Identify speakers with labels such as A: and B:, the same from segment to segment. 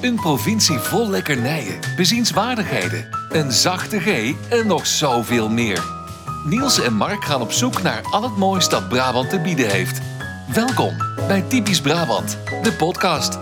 A: Een provincie vol lekkernijen, bezienswaardigheden, een zachte G en nog zoveel meer. Niels en Mark gaan op zoek naar al het moois dat Brabant te bieden heeft. Welkom bij Typisch Brabant, de podcast.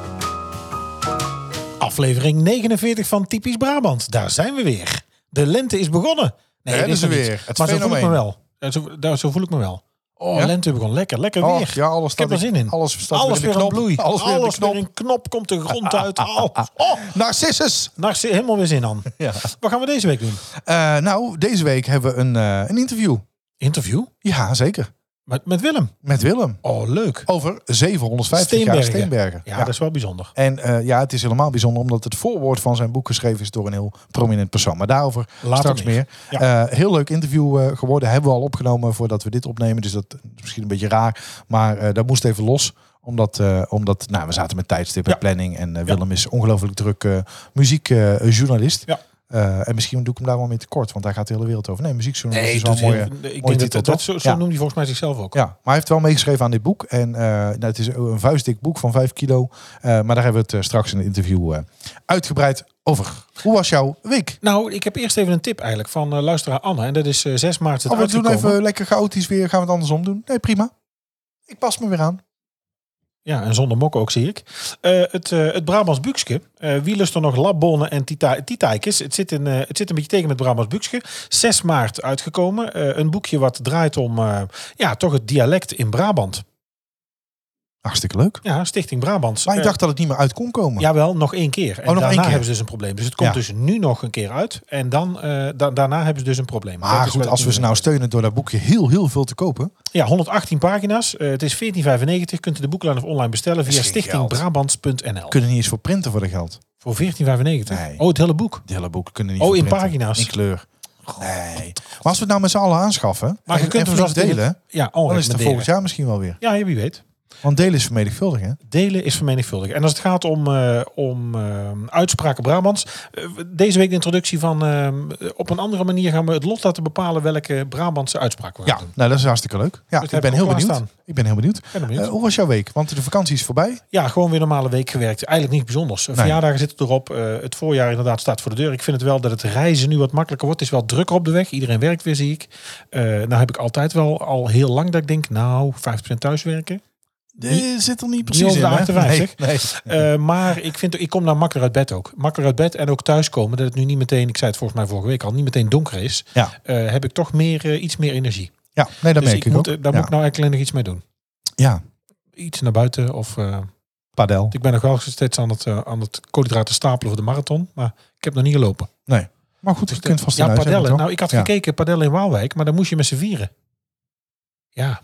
B: Aflevering 49 van Typisch Brabant. Daar zijn we weer. De lente is begonnen. Nee,
C: Daar
B: dat is
C: zijn
B: er
C: we
B: niet.
C: weer. Het
B: maar zo voel ik me
C: fenomeen.
B: wel. Ja, Zo, daar, zo voel ik me wel.
C: Oh,
B: De lente begon lekker, lekker
C: Oh,
B: weer.
C: ja, alles
B: ik heb
C: staat
B: er
C: in-
B: zin in.
C: alles staat
B: alles
C: weer in de
B: aan
C: knop.
B: bloei.
C: Alles weer in de knop.
B: in knop komt de grond uit. Alles. Oh,
C: Narcissus!
B: daar zit helemaal weer zin aan.
C: Ja.
B: Wat gaan we deze week doen?
C: Eh, nou, deze week hebben we een, eh, een interview.
B: Interview
C: Ja, zeker.
B: met, met Willem.
C: Met Willem.
B: Oh, leuk.
C: Over 750 jaar Steenbergen.
B: Ja,
C: Ja.
B: dat is wel bijzonder.
C: En eh, ja, het is helemaal bijzonder omdat het voorwoord van zijn boek geschreven is door een heel prominent persoon. Maar daarover
B: Later
C: straks meer.
B: meer.
C: Eh, heel leuk interview eh, geworden. Hebben we al opgenomen voordat we dit opnemen. Dus dat is misschien een beetje raar. Maar eh, dat moest even los. Omdat, eh, omdat nou, we zaten met tijdstip en
B: Ja.
C: planning. En eh, Willem is ongelooflijk druk eh, muziekjournalist.
B: Ja.
C: Eh, en misschien doe ik hem daar wel mee tekort, want daar gaat de hele wereld over. Nee, muziekjournalist
B: Nee,
C: is
B: ik,
C: wel eh,
B: doe
C: een
B: het
C: mooie,
B: heel- ik
C: mooie
B: denk
C: titel,
B: dat, dat
C: toch?
B: zo, zo
C: Ja.
B: noemt hij volgens mij zichzelf ook.
C: Ja, maar hij heeft wel meegeschreven aan dit boek. En eh nou, het is een vuistdik boek van 5 kilo. Eh, maar daar hebben we het eh, straks in het interview eh, uitgebreid over. Hoe was jouw week?
B: Nou, ik heb eerst even een tip eigenlijk van eh, luisteraar Anne. En dat is eh, 6 maart het
C: Oh, we doen
B: uitgekomen.
C: even lekker chaotisch weer. Gaan we het andersom doen? Nee, prima. Ik pas me weer aan.
B: Ja, en zonder mok ook, zie ik. Eh, het, eh, het Brabants Buxke. Eh wie lust er nog labbonnen en tita- titaikjes? Het, zit in, eh, het zit een beetje tegen met Brabants Buxke. 6 maart uitgekomen. Eh, een boekje wat draait om eh, ja, toch het dialect in Brabant.
C: Hartstikke leuk.
B: Ja, Stichting Brabants.
C: Maar ik
B: Eh,
C: dacht dat het niet meer uit kon komen.
B: Jawel, nog één keer. En
C: nog één
B: daarna
C: keer.
B: hebben ze dus een probleem. Dus het komt
C: Ja.
B: dus nu nog een keer uit. En dan, eh, da- daarna hebben ze dus een probleem. Dat
C: maar
B: is
C: goed,
B: wel
C: als we ze nou steunen door dat boekje heel, heel veel te kopen.
B: Ja, 118 pagina's. Eh, het is 14,95. Kunt u de boeklijn of online bestellen
C: is
B: via
C: geen geld.
B: stichtingbrabants.nl.
C: Kunnen niet eens voor printen voor de geld.
B: Voor 14,95.
C: Nee.
B: Oh, het hele boek.
C: Het hele boek kunnen niet
B: Oh,
C: voor
B: in
C: printen.
B: pagina's.
C: In kleur. Nee. Maar als we het nou met z'n allen aanschaffen.
B: Maar je
C: en-
B: kunt
C: en
B: hem Oh,
C: flink
B: zoals het in het-
C: delen.
B: Ja,
C: Dan is het er volgend
B: onrecommenderend.
C: jaar misschien wel weer.
B: Ja, wie weet.
C: Want delen is vermenigvuldig, hè?
B: Delen is vermenigvuldig. En als het gaat om, eh, om eh, uitspraken Brabants. eh, deze week de introductie van... eh, op een andere manier gaan we het lot laten bepalen... welke Brabantse uitspraak we gaan
C: Ja,
B: doen.
C: nou dat is hartstikke leuk. Ja,
B: Dus
C: ik
B: heb
C: ben
B: ik
C: heel
B: ook
C: benieuwd.
B: klaarstaan.
C: Ik ben heel benieuwd.
B: ben benieuwd.
C: Eh, hoe was jouw week? Want de vakantie is voorbij.
B: Ja, gewoon weer een normale week gewerkt. Eigenlijk niet bijzonders. Verjaardagen zitten erop. Eh, het voorjaar inderdaad staat voor de deur. Ik vind het wel dat het reizen nu wat makkelijker wordt. Het is wel drukker op de weg. Iedereen werkt weer, zie ik. Eh nou heb ik altijd wel al heel lang dat ik denk... nou, 5% thuiswerken.
C: Eh, zit er niet
B: niet
C: precies
B: over
C: in.
B: de
C: hè?
B: 58.
C: Nee, nee.
B: Eh, maar ik, vind, ik kom nou makkelijker uit bed ook. Makkelijker uit bed en ook thuiskomen. Dat het nu niet meteen, ik zei het volgens mij vorige week al... niet meteen donker is.
C: Ja.
B: eh, heb ik toch meer, eh, iets meer energie.
C: Ja, nee, dat
B: dus
C: merk
B: ik
C: ik
B: moet,
C: ook.
B: eh, daar
C: ja.
B: moet ik nou eigenlijk alleen nog iets mee doen.
C: ja,
B: Iets naar buiten of... eh,
C: padel.
B: ik ben nog wel steeds aan het, eh, aan het koolhydraten stapelen voor de marathon. Maar ik heb nog niet gelopen. Dus
C: Nee. Maar goed, je kunt vast
B: eh, Ja,
C: een huis hebben,
B: padellen.
C: toch?
B: Nou, ik had
C: Ja.
B: gekeken, padellen in Waalwijk, maar dan moest je met z'n vieren. Ja,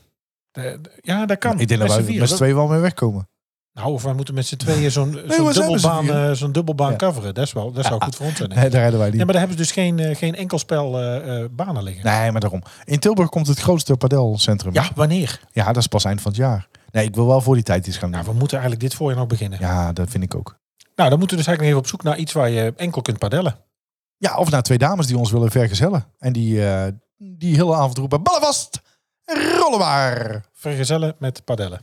B: De- de- ja dat kan.
C: Ik denk dat
B: met z'n
C: wij
B: vieren.
C: met z'n tweeën wel mee wegkomen.
B: Nou, of wij moeten met z'n tweeën zo'n zo'n
C: maar zijn we z'n
B: dubbelbaan,
C: vieren?
B: eh, zo'n dubbelbaan
C: Ja.
B: coveren. Dat, is wel, dat zou goed voor ons zijn.
C: Nee, daar rijden wij niet.
B: Ja, maar daar hebben ze dus geen, eh, geen enkel spel eh, eh, banen liggen.
C: Nee, maar daarom. In Tilburg komt het grootste padelcentrum.
B: Ja, wanneer?
C: ja, dat is pas eind van het jaar. Nee, ik wil wel voor die tijd iets gaan doen.
B: Nou, we moeten eigenlijk dit voorjaar nog beginnen.
C: Ja, dat vind ik ook.
B: Nou, dan moeten we dus eigenlijk nog even op zoek naar iets waar je enkel kunt padellen.
C: Ja, of naar twee dames die ons willen vergezellen. En die, eh, die hele avond roepen, ballen vast, rollen maar.
B: Vergezellen met padellen.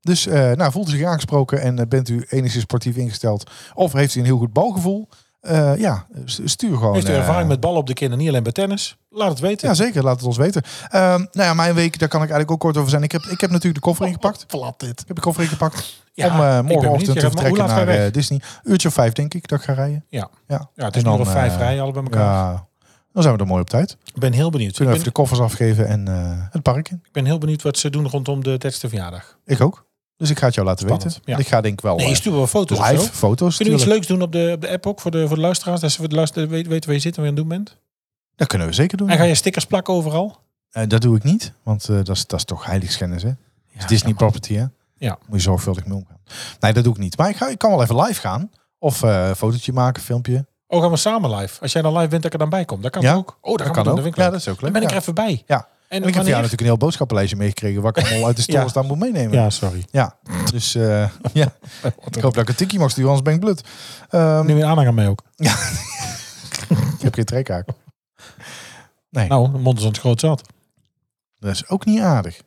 C: Dus eh, nou, voelt u zich aangesproken en eh, bent u enigszins sportief ingesteld? Of heeft u een heel goed balgevoel? Eh, ja, s- stuur gewoon.
B: Heeft u
C: eh,
B: ervaring met ballen op Dus de kinderen, niet alleen bij tennis? Laat het weten.
C: Ja, zeker. Laat het ons weten. Ehm, nou ja, mijn week, daar kan ik eigenlijk ook kort over zijn. Ik heb, ik heb natuurlijk de koffer ingepakt.
B: Oh, Plat dit.
C: Ik heb de koffer ingepakt
B: Ja,
C: om
B: ik
C: eh,
B: ben benieuwd,
C: morgenochtend
B: Gerard,
C: te
B: maar hoe
C: vertrekken
B: laat ga je
C: naar
B: weg?
C: eh, Disney. Uurtje of vijf, denk ik, dat ik ga rijden.
B: Ja.
C: ja.
B: Ja, het
C: En
B: is nu
C: dan,
B: al vijf
C: eh,
B: rijen, alle bij elkaar.
C: ja, dan zijn we er mooi op tijd.
B: Ik ben heel benieuwd. Ik
C: Kunnen
B: ben,
C: we even de koffers afgeven en eh, het park in.
B: ik ben heel benieuwd wat ze doen rondom de 30e verjaardag.
C: Ik ook. Dus ik ga het jou laten
B: Spannend,
C: weten.
B: ja.
C: Ik ga denk ik wel
B: Nee,
C: eh,
B: je stuurt wel foto's of zo.
C: live foto's
B: Kunnen we iets
C: sturen.
B: leuks doen op de, op de app ook voor de, voor de luisteraars? Dat ze voor de luisteraars weten, weten waar je zit en waar je aan het doen bent.
C: Dat kunnen we zeker doen.
B: En ga je stickers plakken overal?
C: Eh, dat doe ik niet, want eh, dat, is, dat is toch heiligschennis, hè? Het is Disney property, hè?
B: Ja.
C: Moet je zorgvuldig mee omgaan. Nee, dat doe ik niet. Maar ik, ga, ik kan wel even live gaan. Of eh, een fotootje maken, filmpje.
B: Oh, gaan we samen live? Als jij dan live bent, dat ik er dan bij kom. Dat kan
C: Ja,
B: ook. Oh, dat,
C: Dat
B: kan we
C: kan
B: doen.
C: ook.
B: Dat vind ik
C: Ja,
B: leuk.
C: dat is ook
B: Dan
C: leuk.
B: ben ik
C: ja.
B: er even bij.
C: Ja.
B: En,
C: En ik heb
B: wanneer?
C: jou natuurlijk een heel boodschappenlijstje meegekregen... waar ik allemaal uit de
B: Ja.
C: stores aan moet meenemen. Ja.
B: Ja, sorry.
C: Dus eh, ja, ik hoop dat ik een tikkie mag sturen, anders ben ik blut. Ehm,
B: Nu weer aanhang aan mij ook.
C: ik heb geen trekhaak.
B: Nou, de mond is aan het groot zat.
C: Dat is ook niet aardig.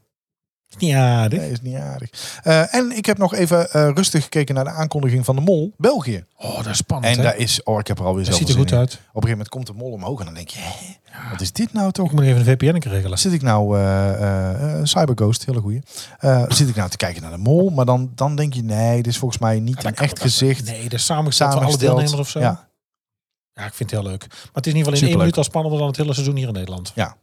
B: Niet aardig.
C: Nee, is niet aardig. Eh, en ik heb nog even eh, rustig gekeken naar de aankondiging van de mol België.
B: Oh, dat is spannend.
C: En
B: hè?
C: daar is, oh, ik heb er alweer
B: Dat
C: zoveel
B: ziet er
C: zin
B: goed
C: in.
B: uit.
C: Op een gegeven moment komt de mol omhoog en dan denk je, hè, wat is dit nou toch?
B: Ik moet even een VPN regelen.
C: Zit ik nou, eh, eh, eh, Cyberghost, hele goeie. Eh, zit ik nou te kijken naar de mol, maar dan, dan denk je, nee, dit is volgens mij niet een echt gezicht.
B: Nee, de samengesteld van alle
C: samengesteld.
B: deelnemers of zo.
C: Ja,
B: Ja, ik vind het heel leuk. Maar het is in ieder geval in één
C: Superleuk.
B: minuut al spannender dan het hele seizoen hier in Nederland.
C: ja,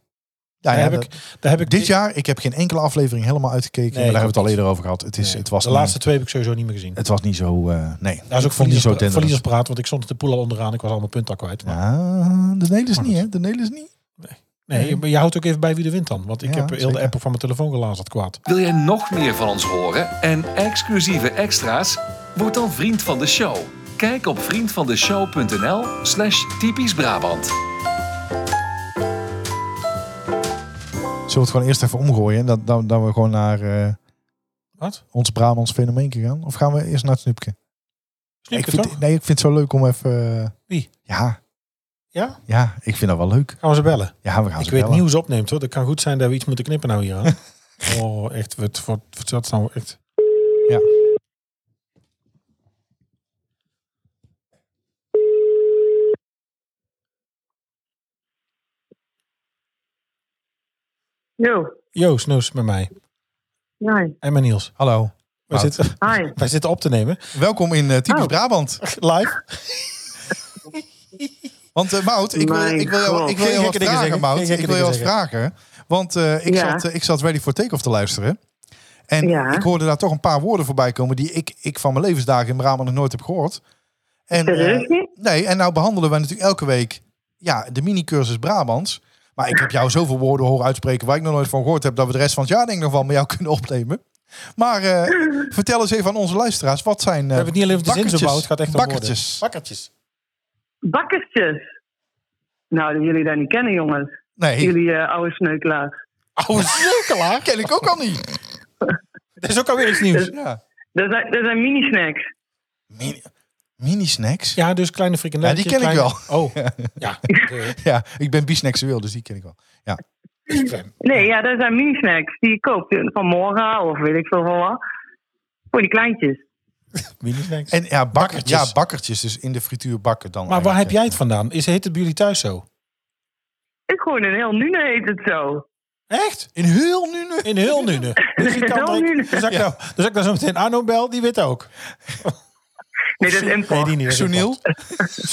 B: daar,
C: ja,
B: heb
C: dat-
B: ik, daar heb ik
C: dit jaar, ik heb geen enkele aflevering helemaal
B: Nee,
C: uitgekeken, maar daar
B: ik
C: hebben we het al
B: ook
C: eerder over gehad. Het, is,
B: Nee,
C: het, was
B: de
C: niet,
B: laatste twee heb ik sowieso niet meer gezien.
C: het was niet zo, eh, nee.
B: Daar is ook
C: Ik vond die
B: verliezers,
C: zo denderend.
B: verliezerspraat, want ik stond de poel al onderaan. Ik was allemaal punten al kwijt. Maar-
C: Ja, de Nederlanders
B: Maar
C: niet,
B: goed.
C: hè? De Nederlanders niet.
B: nee, maar je houdt ook even bij wie de wint dan. Want ik
C: Ja,
B: heb heel de
C: zeker.
B: app op van mijn telefoon gelazerd kwaad.
A: Wil jij nog meer van ons horen en exclusieve extra's? Word dan vriend van de show. Kijk op vriendvandeshow.nl slash typisch Brabant.
C: Zullen we het gewoon eerst even omgooien en dat, dan, dan we gewoon naar eh,
B: Wat?
C: ons Brabants fenomeenke gaan? Of gaan we eerst naar het snoepje?
B: Snip
C: ik
B: het
C: vind,
B: toch?
C: Nee, ik vind het zo leuk om even... eh,
B: Wie?
C: Ja.
B: Ja?
C: Ja, ik vind dat wel leuk.
B: Gaan we ze bellen?
C: Ja, we gaan
B: ik
C: ze
B: weet
C: bellen.
B: nieuws opneemt hoor. Dat kan goed zijn dat we iets moeten knippen nou hier aan. oh, echt. Wat, wat, wat zat nou echt.
C: Ja.
D: Jo,
B: Jo, Snoes met mij.
D: hi.
B: En met Niels.
C: Hallo.
B: Wij
C: Wout.
B: zitten,
D: Hi.
B: wij zitten op te nemen.
C: Welkom in eh, Typisch
D: Oh.
C: Brabant.
B: Live.
C: Want eh Mout, ik wil,
D: Mijn
C: ik wil jou,
D: God.
C: ik wil jou
B: Geen
C: wat
B: gekke dingen
C: vragen,
B: zeggen. Geen
C: Mout.
B: gekke
C: Ik wil jou wat
B: dingen
C: vragen. Want eh, ik,
D: Ja.
C: zat, ik zat Ready for Takeoff te luisteren. En
D: Ja.
C: ik hoorde daar toch een paar woorden voorbij komen die ik, ik van mijn levensdagen in Brabant nog nooit heb gehoord. En, eh,
D: Serieus niet?
C: Nee, en nou behandelen wij natuurlijk elke week ja, de mini-cursus Brabants. Maar ik heb jou zoveel woorden horen uitspreken waar ik nog nooit van gehoord heb, dat we de rest van het jaar denk ik nog wel met jou kunnen opnemen. Maar eh, vertel eens even aan onze luisteraars, wat zijn eh,
B: We hebben het niet alleen over de zin zo
C: bakkertjes?
B: bouw, het gaat echt om woorden.
C: bakkertjes.
B: Bakkertjes.
D: Bakkertjes. Nou, dat jullie dat niet kennen, jongens.
C: Nee,
D: Jullie eh, oude sneukelaars.
C: oude
B: Klaar.
C: ken ik ook al niet.
B: Dat Oh, is ook alweer iets nieuws.
C: Ja.
D: Dat zijn, dat zijn mini-snacks.
C: Mini- Mini-snacks? Ja.
B: Ja, dus kleine frikandelletjes.
C: Ja, die ken ik
B: kleine- Oh, ja. oké.
C: ik ben bisnexueel, dus die ken ik wel.
D: Nee, ja, dat zijn mini-snacks die je koopt van morgen of weet ik veel van wat. Voor die kleintjes.
B: Mini-snacks.
C: En ja, bakkertjes.
B: Bakkertjes.
C: Ja, bakkertjes, dus in de frituur bakken dan.
B: Maar waar heb
C: eigenlijk,
B: jij het vandaan? Is, heet het bij jullie thuis zo?
D: Ik gewoon een heel Nune heet het zo.
B: Echt?
C: ja. In heel nu nu.
B: In heel Nune. Dus ik kan
D: Heel
B: dan,
D: Nune.
B: dus als ik nou, dus als ik nou zo meteen Arno bel, die weet ook.
D: Nee, dat is
B: Nee,
D: import.
B: die niet.
C: Sunil.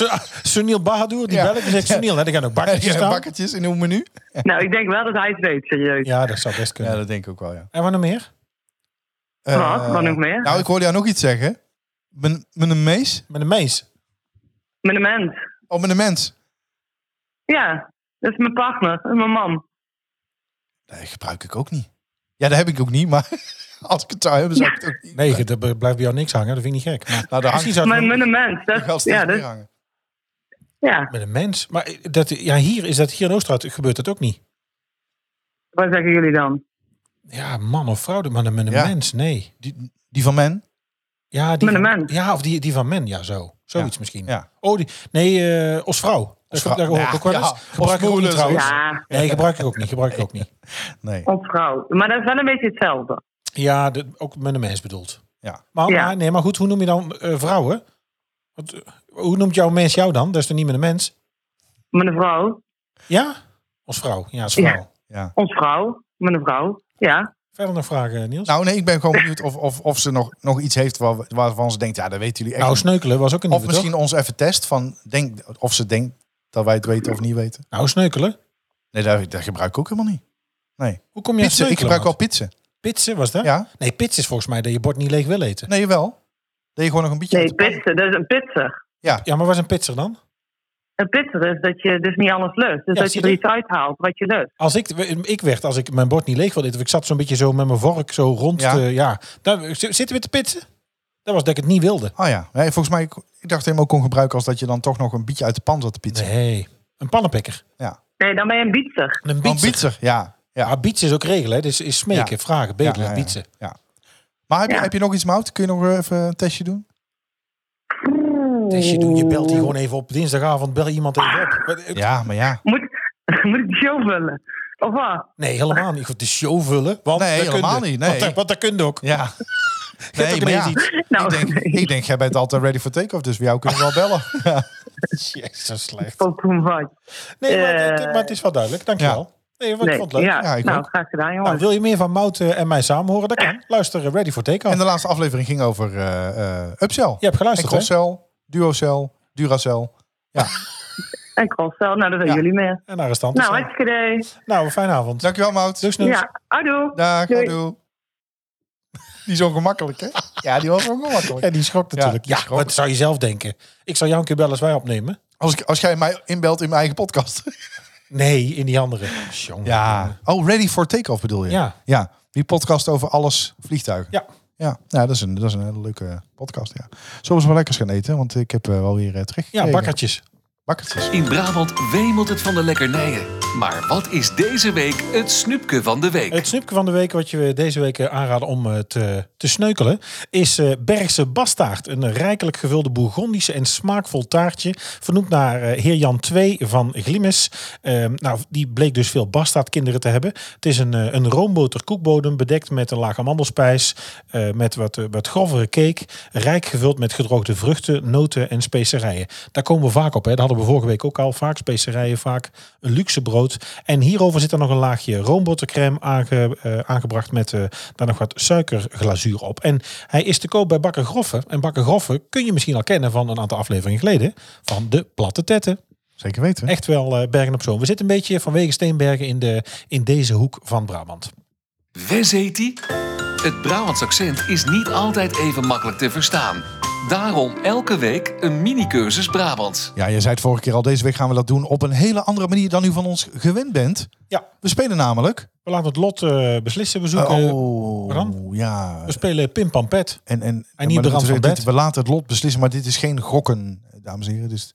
B: ah, Sunil Bahadur, die
C: Ja.
B: bel ik en zeg Sunil. hè, daar gaan ook bakkertjes
C: Ja,
B: staan.
C: bakkertjes in uw menu.
D: Nou, ik denk wel dat hij het weet, serieus.
B: Ja, dat zou best kunnen.
C: Ja, dat denk ik ook wel, ja.
B: En wat nog meer?
C: Eh,
D: Wat? Wat nog meer?
C: Nou, ik hoorde jou nog iets zeggen. Met een mees?
B: Met een mees.
D: Met een mens.
C: Oh, met een mens.
D: Ja, dat is mijn partner, dat is mijn man.
C: Nee, gebruik ik ook niet. Ja, dat heb ik ook niet, maar als ik het zou hebben, zou ik het ook niet.
B: Nee, dat blijft bij jou niks hangen. Dat vind ik niet gek. Maar
C: Nou, daar hangt
B: misschien
C: ik
B: zou het
D: Met, met een mens.
C: wel
D: Dat,
C: steeds
D: ja, dus-
C: meer
D: dat,
C: hangen.
D: ja,
B: met een mens. Maar dat, ja, hier, is dat, hier in Oosterhout gebeurt dat ook niet.
D: wat zeggen jullie dan?
B: Ja, man of vrouw, maar met een
C: Ja.
B: mens, nee.
C: Die, die van men?
B: Ja, die
D: Met een
B: van-
D: mens.
B: Ja, of die, die van men, ja, zo. Zoiets
C: Ja,
B: misschien.
C: ja.
B: Oh, die, nee, eh als vrouw. Dat
C: Als
B: is ook- Daar
C: vrouw,
B: hoor ik
C: ja,
B: ook wel eens.
C: ja. Als
B: Gebruik ik ook niet
C: moeder,
B: trouwens.
D: Ja,
B: Nee, gebruik ik ook niet. Gebruik ik ook niet.
C: Nee.
D: ontvrouw. Maar dat is wel een beetje hetzelfde.
B: Ja, de- ook met een mens bedoeld.
C: Ja.
B: Maar,
D: Ja.
B: maar- nee, maar goed, hoe noem je dan eh, vrouwen? Wat, eh, hoe noemt jouw mens jou dan? Dat is toch niet met een mens?
D: Met een vrouw.
B: Ja? Als vrouw. Ja, als vrouw.
D: Ja.
C: Ja.
D: Ons vrouw, mijn vrouw. Ja.
B: Verder nog vragen, Niels? Nou,
C: Nou, nee, ik ben gewoon benieuwd of, of, of ze nog, nog iets heeft waar, we- waarvan ze denkt, ja, dat weten jullie echt. niet.
B: Nou, sneukelen was ook een
C: of
B: nieuwe,
C: misschien
B: toch?
C: ons even test van denk, of ze denkt dat wij het weten of niet weten.
B: Nou, sneukelen.
C: Nee, dat, dat gebruik ik ook helemaal niet.
B: Hoe kom je aan
C: Pitsen, ik
B: sneukelen,
C: gebruik wel
B: Wout?
C: pitsen.
B: Pitsen was dat?
C: Ja,
B: Nee, pits is volgens mij dat je bord niet leeg wil eten.
C: nee, wel. Dat je gewoon nog een beetje...
D: Nee,
C: uit de pan-
D: pitsen. Dat is een pitser.
B: Ja, maar was een pitser dan?
D: Een pitser is dat je dus niet alles lust. Dus
B: Ja,
D: dat
B: zie
D: je er
B: je?
D: iets uithaalt wat je lust.
B: Als ik, ik werd, als ik mijn bord niet leeg wilde eten, of ik zat zo'n beetje zo met mijn vork zo rond.
C: Ja.
B: Ja, ja. Daar, z- zitten we te pitsen? Dat was dat ik het niet wilde.
C: Oh ja, nee, volgens mij, ik dacht hem ook kon gebruiken als dat je dan toch nog een beetje uit de pan zat te pitsen.
B: Nee, een pannenpikker.
D: Nee, dan ben je een bietser.
B: Een
C: Een
B: bietser.
C: bietser, ja. ja.
B: Maar bietsen is ook regelen, hè? Dus is smeken,
C: Ja.
B: vragen, bedelen,
C: Ja, ja, ja.
B: bietsen.
C: Maar heb, je,
D: Ja.
C: heb je nog iets, Mout? Kun je nog eh, even een testje doen?
B: Dus je, doet- je belt die gewoon even op eh, dinsdagavond, bel iemand even op.
C: Ja, maar ja.
D: Moet, moet ik die show vullen? Of wat?
B: Nee, helemaal niet. Goed, de show vullen. Want
C: Nee,
B: dat kun
C: helemaal
B: je.
C: niet, nee.
B: Want, dat- want dat kun je ook.
C: Ja.
B: hebt ook
C: Nee, maar ja.
B: ineens
D: Nou,
C: Ik denk, ik denk, jij bent altijd ready for takeoff, dus bij jou kunnen we wel bellen. Ja.
B: Jezus, slecht.
D: ook toen wat.
B: Nee, maar, het-
D: Eh,
B: maar het is wel duidelijk. Dankjewel. Nee, want ik
D: Nee,
B: vond het leuk.
D: ja.
C: Ja, ik
D: nou,
C: ook.
D: graag gedaan, jongens.
B: Nou, wil je meer van Mout eh, en mij samen horen? Dat kan. Luister eh, Ready for Takeoff.
C: En de laatste aflevering ging over eh, eh, upsell.
B: Je hebt
C: en
B: geluisterd, hè?
C: crosscell, duocell, duracell.
D: En Crosscel, nou, dat zijn
C: Ja.
D: jullie meer.
B: En arrestant. Dus, eh,
D: Nou, hartstikke idee.
B: nou, een fijne avond.
C: Dankjewel, Mout.
B: Doei, Snoes.
D: Ja, adoe.
C: Dag,
D: Doei.
C: doei. Die is ongemakkelijk, hè? Ja, die was ongemakkelijk.
B: Ja, die schrok natuurlijk.
C: Ja, die
B: Ja,
C: schrok.
B: wat zou je zelf denken? Ik zal jou een keer bellen als wij opnemen.
C: Als, ik- als jij mij inbelt in mijn eigen podcast.
B: Nee, in die andere. Jongen.
C: Ja. Oh, ready for takeoff bedoel je?
B: Ja.
C: Ja, die podcast over alles vliegtuigen.
B: Ja.
C: Ja, nou, dat, is een, dat is een hele leuke podcast, ja. Zullen we wel lekkers gaan eten? Want ik heb eh, wel weer eh terug.
B: Ja, bakkertjes.
C: bakkertjes.
A: In Brabant wemelt het van de lekkernijen. Maar wat is deze week het snoepje van de week?
B: Het snoepje van de week wat je deze week eh, aanraden om eh, te, te sneukelen... is eh, Bergse Bastaard. Een rijkelijk gevulde bourgondische en smaakvol taartje... vernoemd naar eh, heer Jan II van Glimmes. Ehm, nou, die bleek dus veel bastaardkinderen te hebben. Het is een, eh, een roomboter koekbodem bedekt met een laag amandelspijs... eh, met wat, eh, wat grovere cake. Rijk gevuld met gedroogde vruchten, noten en specerijen. Daar komen we vaak op. Hè. Dat hadden we vorige week ook al. Vaak specerijen, vaak een luxe brood. En hierover zit er nog een laagje roombottercrème aange, eh, aangebracht met eh, daar nog wat suikerglazuur op. En hij is te koop bij Bakker Groffe. En Bakker Groffe kun je misschien al kennen van een aantal afleveringen geleden. Van de platte tetten.
C: Zeker weten.
B: Echt wel eh, Bergen op Zoom. We zitten een beetje vanwege Steenbergen in, de, in deze hoek van Brabant.
A: Wes heet die? Het Brabants accent is niet altijd even makkelijk te verstaan. Daarom elke week een mini-cursus Brabants.
C: Ja, je zei het vorige keer al, deze week gaan we dat doen op een hele andere manier dan u van ons gewend bent.
B: Ja.
C: We spelen namelijk...
B: We laten het lot eh, beslissen. We zoeken...
C: oh,
B: wat dan?
C: ja.
B: We spelen Pim Pam Pet.
C: En, en,
B: En niet
C: maar dat
B: brand
C: is-
B: van
C: dit-
B: bed.
C: We laten het lot beslissen, maar dit is geen gokken, dames en heren. Dus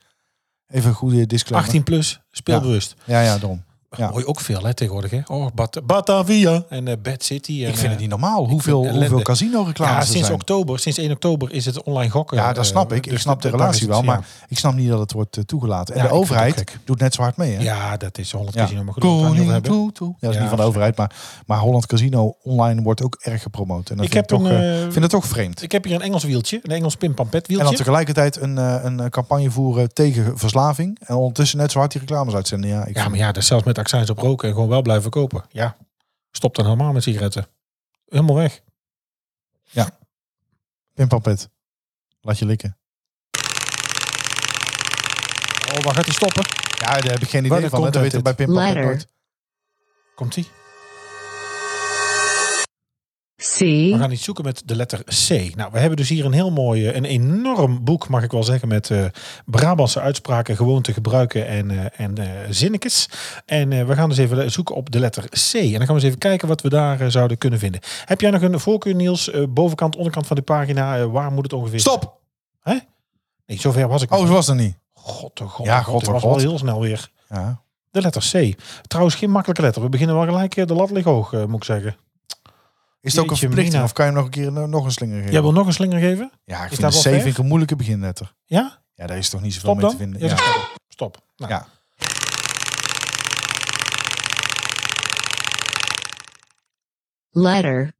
C: even een goede disclaimer.
B: 18 plus, speelbewust.
C: Ja, ja, daarom. Ja.
B: Hoor je ook veel hè, tegenwoordig. Hè? Oh, Bat- Batavia en eh, Bad City. En,
C: Ik vind het
B: eh,
C: niet normaal hoeveel,
B: ellende.
C: hoeveel casino-reclames
B: Ja,
C: er
B: sinds
C: zijn.
B: oktober, sinds 1 oktober is het online gokken.
C: Ja, dat
B: eh,
C: snap ik. Ik
B: dus
C: snap de
B: dat- daar
C: relatie
B: is
C: wel,
B: het,
C: maar ik snap niet dat het wordt eh, toegelaten. En
B: Ja,
C: de
B: ik vind het ook
C: overheid
B: gek.
C: doet net zo hard mee, hè?
B: Ja, Ja, dat is Holland
C: Ja.
B: Casino. Maar goed, dat we het daar niet over
C: Koning
B: hebben.
C: toe, toe. Ja, dat is
B: Ja,
C: niet van de
B: dat-
C: overheid, maar, maar Holland Casino online wordt ook erg gepromoot. En dat
B: Ik
C: vind,
B: heb
C: ik toch,
B: een,
C: eh,
B: eh,
C: vind het toch vreemd.
B: Ik heb hier een Engels wieltje, een Engels pimpampet
C: En dan
B: wieltje.
C: tegelijkertijd een, eh, een eh, campagne voeren tegen verslaving. En ondertussen net zo hard die reclames uitzenden. Ja, ik
B: Ja,
C: vind-
B: maar ja, dat is zelfs met accijns op roken en gewoon wel blijven kopen. Ja, stop dan helemaal met sigaretten. Helemaal weg.
C: Pimpampet. Laat je likken.
B: Oh, waar gaat hij stoppen?
C: Ja, daar heb ik geen
B: Waar
C: idee
B: de
C: van. hè. Dat
B: content
C: weet ik bij Pimpampet
E: Letter.
C: nooit.
B: Komt hij?
E: C
B: We gaan iets zoeken met de letter C. Nou, we hebben dus hier een heel mooi, eh, een enorm boek, mag ik wel zeggen, met eh, Brabantse uitspraken gewoon te gebruiken en, eh, en eh, zinnetjes. En eh, we gaan dus even zoeken op de letter C. En dan gaan we eens even kijken wat we daar eh, zouden kunnen vinden. Heb jij nog een voorkeur, Niels? Eh, bovenkant, onderkant van de pagina, eh, waar moet het ongeveer?
C: Stop!
B: Nee, zover was ik.
C: Oh,
B: nog.
C: zo was dat niet.
B: god, oh god,
C: Ja,
B: oh god,
C: god,
B: het
C: oh
B: was
C: god.
B: wel heel snel weer.
C: Ja.
B: De letter C. Trouwens, geen makkelijke letter. We beginnen wel gelijk, eh, de lat ligt hoog, eh, moet ik zeggen.
C: Is het ook een
B: Jeetje,
C: verplichting
B: Mina.
C: of kan je hem nog een keer eh, nog een slinger geven?
B: Jij wil nog een slinger geven?
C: Ja, ik
B: Is
C: vind
B: dat
C: een
B: wel
C: C
B: fair?
C: vind ik een moeilijke beginletter.
B: Ja?
C: Ja, daar is toch niet zoveel
B: Stop
C: mee
B: dan?
C: te vinden.
B: Ja,
C: Ja.
B: stop. Stop. Nou,
C: Ja.
E: letter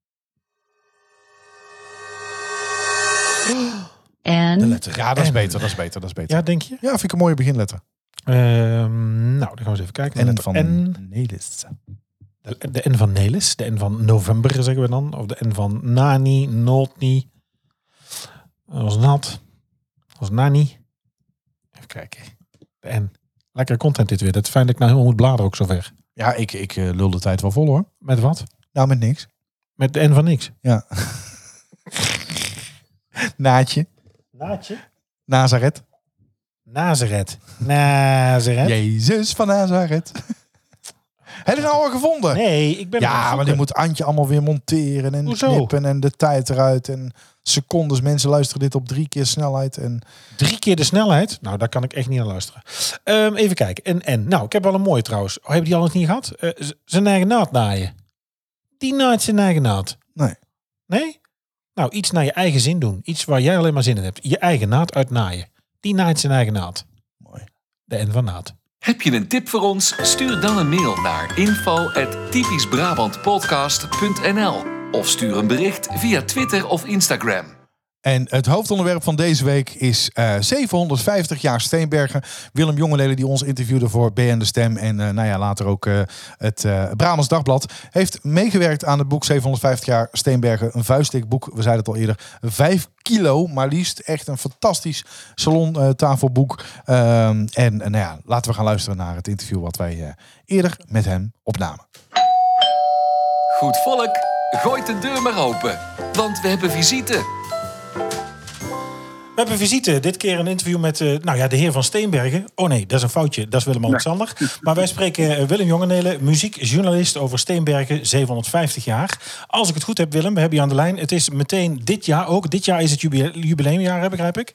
B: de
E: N
B: letter
C: Ja, dat is
B: N.
C: beter, dat is beter, dat is beter.
B: Ja,
C: Ja,
B: denk je?
C: vind ik een mooie beginletter.
B: Ehm, nou, dan gaan we eens even kijken.
C: En
B: Letter
C: van
B: N.
C: Nelis.
B: De, de N van Nelis. De N van november, zeggen we dan. Of de N van Nani, Notni. Dat was Nat. Dat was Nani. Even kijken. De N. Lekker content dit weer. Het is fijn dat ik nou helemaal moet bladeren ook zover.
C: Ja, ik, ik eh, lul de tijd wel vol hoor.
B: Met wat?
C: Nou, met niks.
B: Met de N van niks.
C: Ja. Naadje.
B: Naatje?
C: Nazareth.
B: Nazareth. Nazareth.
C: Jezus van Nazareth. Heb je nou al gevonden?
B: Nee, ik ben
C: ja, maar die moet Antje allemaal weer monteren en
B: Hoezo?
C: knippen en de tijd eruit en secondes. Mensen luisteren dit op drie keer snelheid en
B: Drie keer de snelheid? Nou, daar kan ik echt niet aan luisteren. Ehm, even kijken. En, en, nou, ik heb wel een mooie trouwens. Oh, hebben die al eens niet gehad? Eh, z- zijn eigen naad naaien. Die naait zijn eigen naad.
C: Nee.
B: Nee? Nou, iets naar je eigen zin doen. Iets waar jij alleen maar zin in hebt. Je eigen naad uitnaaien. Die naait zijn eigen naad.
C: Mooi.
B: De N van naad.
A: Heb je een tip voor ons? Stuur dan een mail naar info.typischbrabantpodcast.nl of stuur een bericht via Twitter of Instagram.
C: En het hoofdonderwerp van deze week is eh, 750 jaar Steenbergen. Willem Jongeleden, die ons interviewde voor BN De Stem... en eh, nou ja, later ook eh, het eh Brabants Dagblad... heeft meegewerkt aan het boek 750 jaar Steenbergen. Een vuistdik boek, we zeiden het al eerder. Vijf kilo, maar liefst echt een fantastisch salontafelboek. Ehm, en eh, nou ja, laten we gaan luisteren naar het interview... wat wij eh, eerder met hem opnamen.
A: Goed volk, gooit de deur maar open, want we hebben visite.
B: We hebben visite. Dit keer een interview met eh, nou ja, de heer van Steenbergen. Oh nee, dat is een foutje. Dat is Willem-Alexander. Maar wij spreken eh, Willem Jongenelen, muziekjournalist over Steenbergen, 750 jaar. Als ik het goed heb, Willem, we hebben je aan de lijn. Het is meteen dit jaar ook. Dit jaar is het jubile- jubileumjaar, hè, begrijp ik?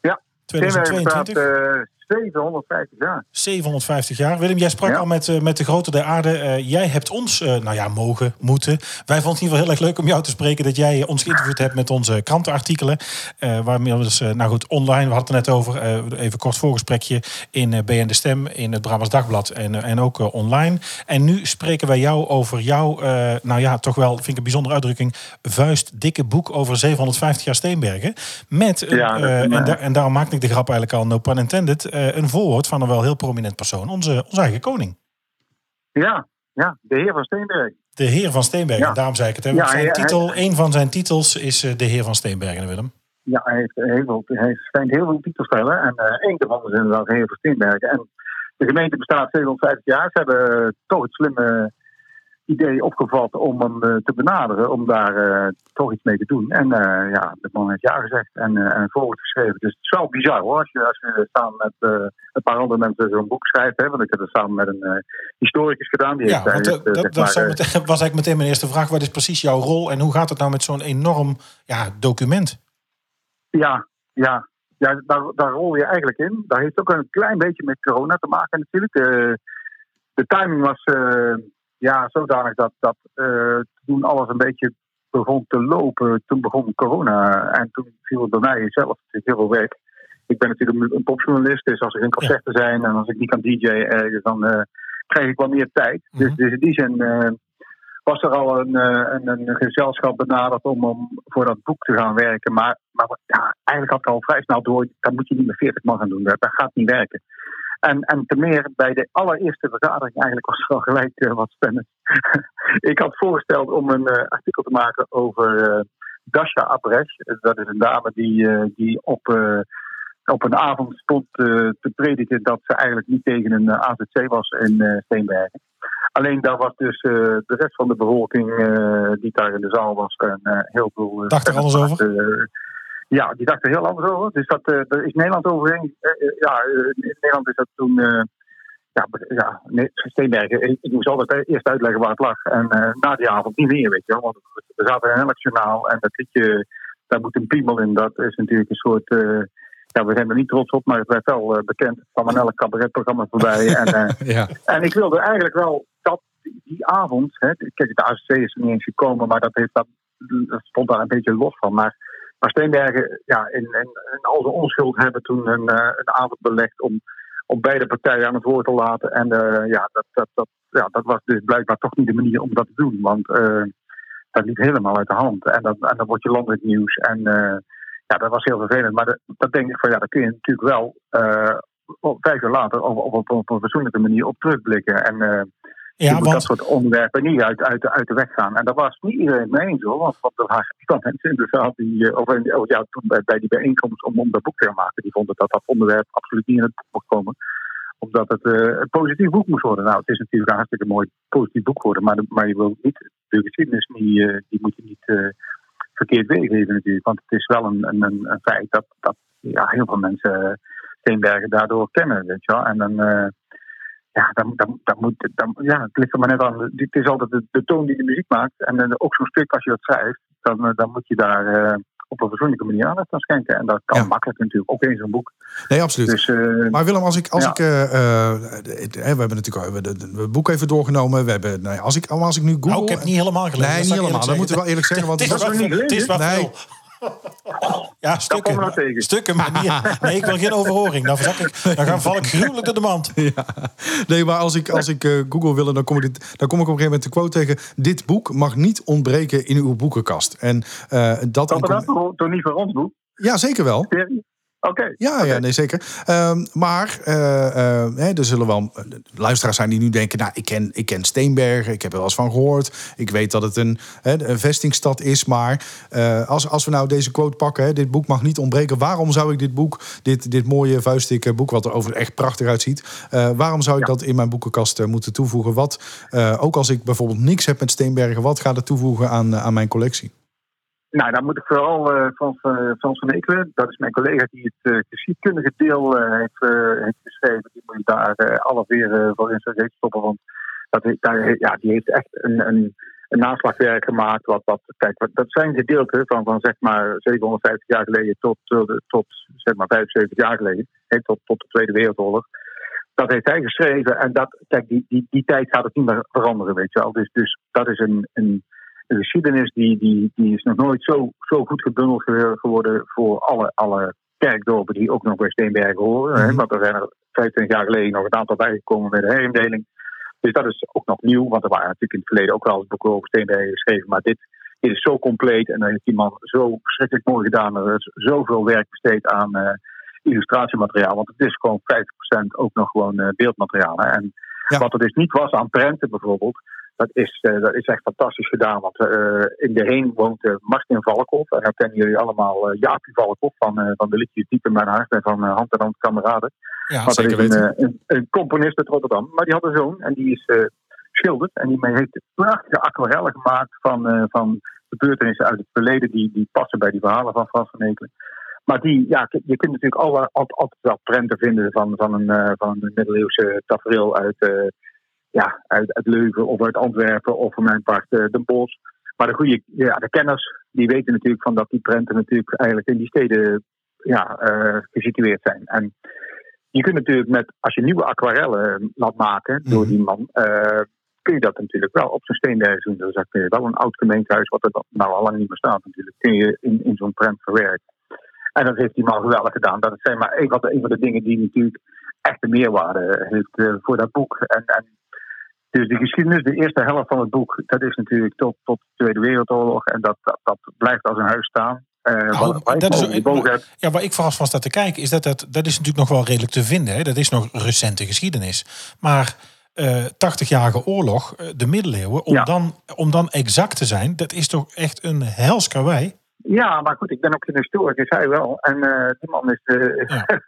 E: Ja. Steenbergen staat
B: 2022.
E: eh 750 jaar.
B: 750 jaar. Willem, jij sprak
E: Ja.
B: al met, eh, met de grote der aarde. Eh, jij hebt ons, eh, nou ja, mogen, moeten. Wij vonden het in ieder geval heel erg leuk om jou te spreken. Dat jij eh, ons geïnterviewd hebt met onze krantenartikelen. Eh waarmee we dus, eh, nou goed, online, we hadden het net over. eh, even kort voorgesprekje in eh, BN De Stem, in het Brabants Dagblad en, eh, en ook eh, online. En nu spreken wij jou over jouw, eh, nou ja, toch wel, vind ik een bijzondere uitdrukking, vuistdikke boek over 750 jaar Steenbergen. Met, een,
E: Ja, dat is
B: eh,
E: een,
B: en,
E: eh,
B: da- en daarom maakte ik de grap eigenlijk al, no pun intended, eh, een voorwoord van een wel heel prominent persoon, onze, onze eigen koning.
E: Ja, ja, de heer van Steenbergen.
B: De heer van Steenbergen,
E: Ja.
B: daarom zei ik het. Hè?
E: Ja,
B: Want zijn
E: ja, hij-
B: titel, een van zijn titels is eh, de heer van Steenbergen, Willem.
E: Ja, hij, heeft heel veel, hij schijnt heel veel titels te hebben. En eh één daarvan is inderdaad de heer van Steenbergen. En de gemeente bestaat 750 jaar. Ze hebben eh, toch het slimme idee opgevat om hem eh, te benaderen. Om daar eh, toch iets mee te doen. En eh, ja, de man heeft ja gezegd en, eh en een voorwoord geschreven. Dus het is wel bizar hoor. Als je, als je samen met eh, een paar andere mensen zo'n boek schrijft. Hè, want ik heb het samen met een eh, historicus gedaan. Die
B: Ja,
E: heeft, eh,
B: want eh,
E: heeft,
B: dat,
E: eh, zeg
B: dat
E: maar,
B: zou
E: eh,
B: meteen- was eigenlijk meteen mijn eerste vraag. Wat is precies jouw rol en hoe gaat het nou met zo'n enorm ja, document?
E: Ja, ja. ja daar, daar rol je eigenlijk in. Daar heeft ook een klein beetje met corona te maken natuurlijk. Eh, de timing was eh, ja, zodanig dat, dat eh, toen alles een beetje begon te lopen, toen begon corona. En toen viel het bij mij zelf natuurlijk heel veel weg. Ik ben natuurlijk een popjournalist, dus als er geen concerten zijn en als ik niet kan DJ ergens, dan eh, krijg ik wel meer tijd.
B: Mhm.
E: dus, dus in die zin eh, was er al een, eh, een, een gezelschap benaderd om, om voor dat boek te gaan werken. Maar, maar ja, eigenlijk had ik al vrij snel door, dat moet je niet met 40 man gaan doen, dat, dat gaat niet werken. En, en te meer bij de allereerste vergadering eigenlijk was er al gelijk eh, wat spannend. ik had voorgesteld om een eh, artikel te maken over eh Dasha Abresh. Eh, Dat is een dame die, eh, die op, eh, op een avond stond eh, te prediken dat ze eigenlijk niet tegen een eh, AZC was in eh Steenbergen. Alleen daar was dus eh, de rest van de bevolking eh, die daar in de zaal was en eh, heel veel... eh,
B: Dacht er anders over?
E: eh, ja, die dacht er heel anders over. Dus dat, eh, daar is Nederland overheen. eh, eh, ja, eh, in Nederland is dat toen... eh, ja, be- ja nee, Steenbergen, ik, ik moest altijd eh, eerst uitleggen waar het lag. En eh, na die avond niet meer, weet je wel. Want we zaten in elk journaal en dat liedje, daar moet een piemel in. Dat is natuurlijk een soort... eh, ja, we zijn er niet trots op, maar het werd wel eh, bekend. Het kwam aan elk cabaretprogramma voorbij. en, eh,
C: Ja.
E: en ik wilde eigenlijk wel dat die avond. Hè, kijk, de ACC is er niet eens gekomen, maar dat, heeft, dat, dat stond daar een beetje los van. Maar, maar Steenbergen, ja, in, in, in al zijn onschuld hebben toen een, eh, een avond belegd om, om beide partijen aan het woord te laten. En eh, ja, dat, dat, dat, ja, dat was dus blijkbaar toch niet de manier om dat te doen. Want eh, dat liep helemaal uit de hand. En, dat, en dan word je landelijk nieuws. En eh, ja, dat was heel vervelend. Maar dat, dat denk ik van ja, dat kun je natuurlijk wel. eh, op- vijf jaar later op, op, op, op een fatsoenlijke manier op terugblikken. En eh, je
B: Ja,
E: moet dat
B: want
E: soort onderwerpen niet uit, uit, uit de weg gaan. En daar was niet iedereen het mee eens hoor. Want, want er waren echt wel mensen in de zaal die, eh, of, in- oh ja, toen bij, bij die bijeenkomst om, om dat boek te gaan maken, die vonden dat dat onderwerp absoluut niet in het boek mocht komen omdat het eh, een positief boek moest worden. Nou, het is natuurlijk een hartstikke mooi positief boek worden. Maar, de- maar je wil niet de geschiedenis niet, eh, die moet je niet eh, verkeerd weergeven natuurlijk. Want het is wel een, een, een, een feit dat, dat ja, heel veel mensen eh, Steenbergen daardoor kennen, weet je wel. En dan, eh, ja, dan, dan, dan moet, dan, ja, het ligt er maar net aan. Het is altijd de, de toon die de muziek maakt. En dan ook zo'n stuk, als je dat schrijft, dan, eh, dan moet je daar eh, op een verzoenlijke manier aandacht aan schenken. En dat kan
C: Ja.
E: makkelijk natuurlijk, ook in zo'n boek.
C: Nee, absoluut.
E: Dus eh,
C: Maar Willem, als ik, als
E: Ja.
C: ik eh, eh, de- de- we hebben natuurlijk al- we hebben de- de- het boek even doorgenomen. We hebben, nou ja, als ik, maar als ik nu Google.
B: nou, ik heb het niet helemaal gelezen.
C: nee,
B: zou
C: niet
B: ik eerlijk
C: helemaal. Dat
B: zeggen.
C: moeten we wel eerlijk zeggen. Want
B: Het is
E: Dat
B: wel
E: is nog niet
B: veel. Het is wel
C: Nee.
B: veel. Ja,
E: komen we
B: stukken.
E: nou tegen.
B: Stukken, maar niet... Nee, ik wil geen overhoring. Dan, verzak ik, dan gaan, val ik gruwelijk door de mand.
C: Ja. Nee, maar als ik, als ik eh, Google wil, dan kom, ik dit, dan kom ik op een gegeven moment de quote tegen. Dit boek mag niet ontbreken in uw boekenkast. En eh, dat...
E: Dat dat toch toch niet voor ons boek?
C: Ja, zeker wel.
E: Thierry? Oké.
C: Ja, ja nee, zeker. Ehm, maar eh, eh, hè, er zullen wel eh, luisteraars zijn die nu denken... nou, ik ken, ik ken Steenbergen, ik heb er wel eens van gehoord. Ik weet dat het een, hè, een vestingstad is. Maar eh, als, als we nou deze quote pakken... Hè, dit boek mag niet ontbreken. Waarom zou ik dit boek, dit, dit mooie vuistdikke boek... wat er overigens echt prachtig uitziet... eh, waarom zou ik dat in mijn boekenkast eh, moeten toevoegen? Wat, eh, ook als ik bijvoorbeeld niks heb met Steenbergen... wat gaat het toevoegen aan, eh, aan mijn collectie?
E: Nou, dan moet ik vooral eh, Frans, eh, Frans van Ekelen, dat is mijn collega die het eh, geschiedkundige deel eh, heeft, eh, heeft geschreven, die moet je daar eh, alle weer eh, voor in zijn reet stoppen. Want dat, he- daar, ja, die heeft echt een, een, een naslagwerk gemaakt. Wat, wat, kijk, wat, dat zijn gedeelten van, van zeg maar 750 jaar geleden tot, eh, de- tot zeg maar 75 jaar geleden, hè, tot, tot de Tweede Wereldoorlog. Dat heeft hij geschreven en dat, kijk, die, die, die tijd gaat het niet meer veranderen, weet je wel. Dus, dus dat is een, een de geschiedenis die, die, die is nog nooit zo, zo goed gebundeld ge- geworden voor alle, alle kerkdorpen die ook nog bij Steenbergen horen. hè.
C: Mhm.
E: Want er zijn er 25 jaar geleden nog een aantal bijgekomen bij de herindeling. Dus dat is ook nog nieuw, want er waren natuurlijk in het verleden ook wel eens boeken over Steenbergen geschreven. Maar dit, dit is zo compleet en daar heeft die man zo verschrikkelijk mooi gedaan. Er is zoveel werk besteed aan eh, illustratiemateriaal, want het is gewoon 50% ook nog gewoon eh, beeldmateriaal. hè. En
C: Ja.
E: wat er dus niet was aan prenten bijvoorbeeld, dat is, eh, dat is echt fantastisch gedaan. Want eh, in de heen woont eh, Martin Valkhoff. En dat kennen jullie allemaal. eh, Jaapie Valkhoff van, eh, van de liedjes Diep in mijn hart. En van eh, Hand en Hand Kameraden.
B: Ja,
E: Want dat is
C: zeker
E: een,
C: weten.
E: eh, een, een componist uit Rotterdam. Maar die had een zoon. En die is eh schilderd. En die heeft prachtige aquarellen gemaakt van, eh, van gebeurtenissen uit het verleden. Die, die passen bij die verhalen van Frans van Ekelen. Maar die, ja, k- je kunt natuurlijk al- al- altijd wel prenten vinden van, van, een, eh, van een middeleeuwse tafereel uit... eh, ja, uit, uit Leuven of uit Antwerpen of van mijn part eh, Den Bosch. Maar de goede ja, de kenners, die weten natuurlijk van dat die prenten natuurlijk eigenlijk in die steden ja, eh, gesitueerd zijn. En je kunt natuurlijk met, als je nieuwe aquarellen eh, laat maken
B: Mhm.
E: door die man, eh, kun je dat natuurlijk wel op zijn steenberg doen. Dus dat kun je wel een oud gemeentehuis, wat er dan- nou al lang niet meer staat natuurlijk, kun je in, in zo'n prent verwerken. En dat heeft die man geweldig gedaan. Dat is zeg maar een van de, een van de dingen die natuurlijk echt de meerwaarde heeft eh, voor dat boek. En, en dus de geschiedenis, de eerste helft van het boek, dat is natuurlijk tot, tot de Tweede Wereldoorlog. En dat, dat, dat blijft als een huis staan. Eh, wat wij
B: Oh, dat is-
E: boven gebogen hebben.
B: Ja, waar ik vooral van sta te kijken is dat, dat dat is natuurlijk nog wel redelijk te vinden. Hè? Dat is nog recente geschiedenis. Maar eh 80-jarige oorlog, eh, de middeleeuwen, om,
E: Ja.
B: dan, om dan exact te zijn, dat is toch echt een hels karwei.
E: Ja, maar goed, ik ben ook geen historicus, hij wel. En eh, die man is. eh,
B: Ja.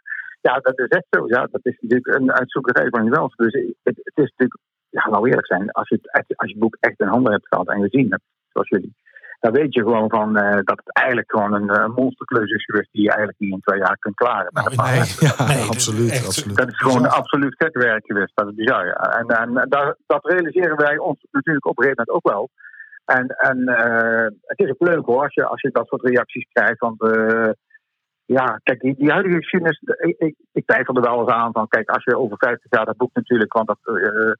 E: ja. dat is echt zo. Ja, dat is natuurlijk een uitzoekerij van jezelf. Dus het, het is natuurlijk. Ja, nou eerlijk zijn, als je, het, echt- als je het boek echt in handen hebt gehad en gezien hebt, zoals jullie. Dan weet je gewoon van, eh, dat het eigenlijk gewoon een eh, monsterkleus is geweest die je eigenlijk niet in twee jaar kunt klaren. Met een paar
B: Nou, nee,
C: Ja,
B: Nee, dat-
C: absoluut,
B: echt. Oh,
C: absoluut.
E: Nou, dat is gewoon
B: Bizar.
E: absoluut gek werk geweest. Dat is bizar, ja. En, en daar, dat realiseren wij ons natuurlijk op een gegeven moment ook wel. En, en eh, het is ook leuk hoor, als je, als je dat soort reacties krijgt. Want eh, ja, kijk, die, die huidige geschiedenis... Ik, ik, ik twijfel er wel eens aan van, kijk, als je over 50 jaar dat boek natuurlijk... Want dat, eh,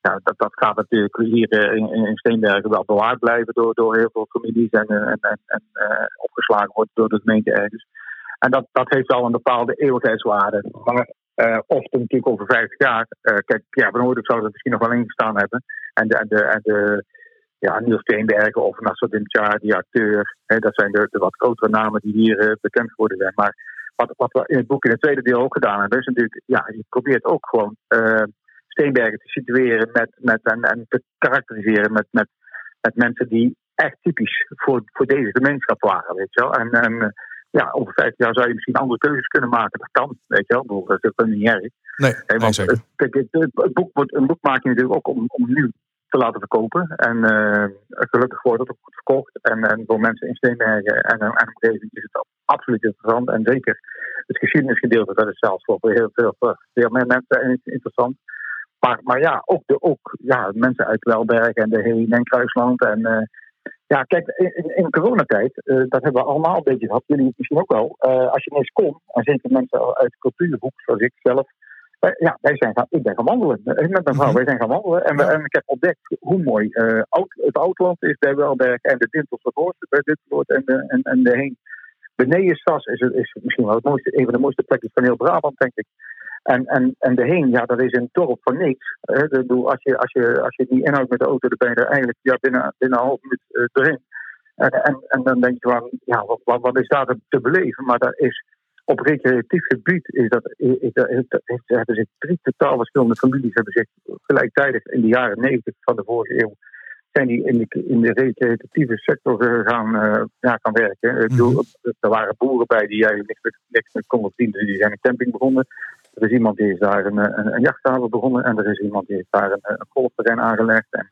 E: ja, dat, dat gaat natuurlijk hier eh, in, in in Steenbergen wel bewaard blijven... door, door heel veel families en, eh, en, en, en eh, opgeslagen wordt door de gemeente ergens. En dat, dat heeft wel een bepaalde eeuwigheidswaarde. Maar eh, of het natuurlijk over 50 jaar. eh, kijk, ja, van Hoordijk zou er misschien nog wel in gestaan hebben. En de, en de, en de ja, Niels Steenbergen of Nasser Dimchar, die acteur. Hè, dat zijn de, de wat grotere namen die hier eh, bekend geworden zijn. Maar wat, wat we in het boek in het tweede deel ook gedaan hebben, is natuurlijk, ja, je probeert ook gewoon eh, Steenbergen te situeren met, met, en, en te karakteriseren met, met, met mensen die echt typisch voor, voor deze gemeenschap waren, weet je wel. En, en eh, ja, over 50 jaar zou je misschien andere keuzes kunnen maken. Dat kan, weet je wel. Ik bedoel, Dat is ook niet erg.
C: Nee,
E: Hè,
C: nee,
E: want
C: zeker.
E: het- kijk, het, het- het boek wordt, een boek maak je natuurlijk ook om, om nieuw te laten verkopen. En eh, gelukkig wordt het ook goed verkocht. En, en voor mensen in Steenbergen en en en omgeving is het absoluut interessant. En zeker het geschiedenisgedeelte, dat is zelfs voor heel veel, voor veel meer mensen in- interessant. Maar, maar ja, ook, de, ook ja, mensen uit Welberg en de Heen en Kruisland. En, eh, ja, kijk, in, in- in coronatijd, eh, dat hebben we allemaal een beetje gehad. Jullie misschien ook wel. Eh, als je ineens kon, en zeker mensen uit de cultuurhoek, zoals ik zelf, wij- Eh, ja, wij zijn gaan, ik ben gaan wandelen. Eh, Met mijn vrouw, wij zijn gaan wandelen. En, we, en ik heb ontdekt hoe mooi eh, oud, het Oudland is bij Welberg. En de Dintelse Voorst bij dit soort en de, en, en de Heen. Beneden Sas is, het, is misschien wel het mooiste, een van de mooiste plekjes van heel Brabant, denk ik. En, en, en de heen, ja, dat is een dorp van niks. Hè. Ik bedoel, als, je, als, je, als je die inhoudt met de auto, dan ben je er eigenlijk ja, binnen, binnen een half minuut eh, doorheen. En, en, en dan denk je van, ja, wat, wat, wat is daar te, te beleven? Maar daar is op recreatief gebied is dat, is, is, is, is- hebben zich drie totaal verschillende families hebben zich gelijktijdig in de jaren 90 van de vorige eeuw zijn die in de, in de recreatieve sector eh, gaan, eh, ja, gaan werken. Ik bedoel, er waren boeren bij die eigenlijk niks met, niks met konden verdienen, dus die zijn een camping begonnen. Er is iemand die is daar een, eh, een, een jachthaven begonnen en er is iemand die heeft daar een, eh, een golfterrein aangelegd. En,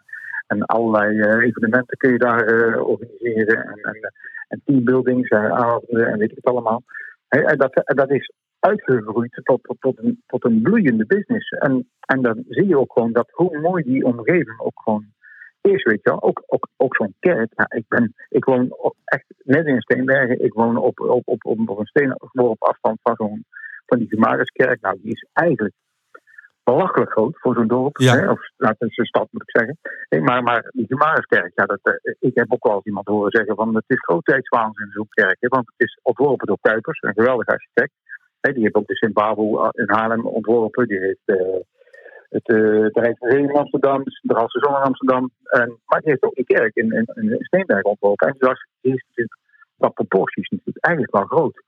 E: en allerlei eh, evenementen kun je daar eh, organiseren en, en, en teambuildings en avonden en weet ik het allemaal. Hè, En dat, en dat is uitgegroeid tot, tot, tot, een, tot een bloeiende business. En, en dan zie je ook gewoon dat hoe mooi die omgeving ook gewoon is, weet je wel. Ook, ook, ook zo'n kerk. Ja, ik, ben, ik woon op- echt net in Steenbergen. Ik woon op, op, op, op, op een steenworp afstand van, zo'n, van die Gemariskerk. Nou, die is eigenlijk belachelijk groot voor zo'n dorp.
C: Ja.
E: Hè? Of nou, het is een stad, moet ik zeggen. Nee, maar, maar die Gemariskerk, ja, dat, eh, ik heb ook wel eens iemand horen zeggen van... het is grootheidswaanzin in zo'n kerk. Hè? Want het is ontworpen door Kuipers, een geweldig architect. Hè? Die heeft ook de Sint-Babel eh, in Haarlem ontworpen. Die heeft... eh, het eh Terrein van Zee in Amsterdam, de Halse Zon in Amsterdam. En, maar die heeft ook die kerk in, in, in Steenberg ontworpen. En toen dacht ik, die is natuurlijk qua proporties natuurlijk eigenlijk wel groot.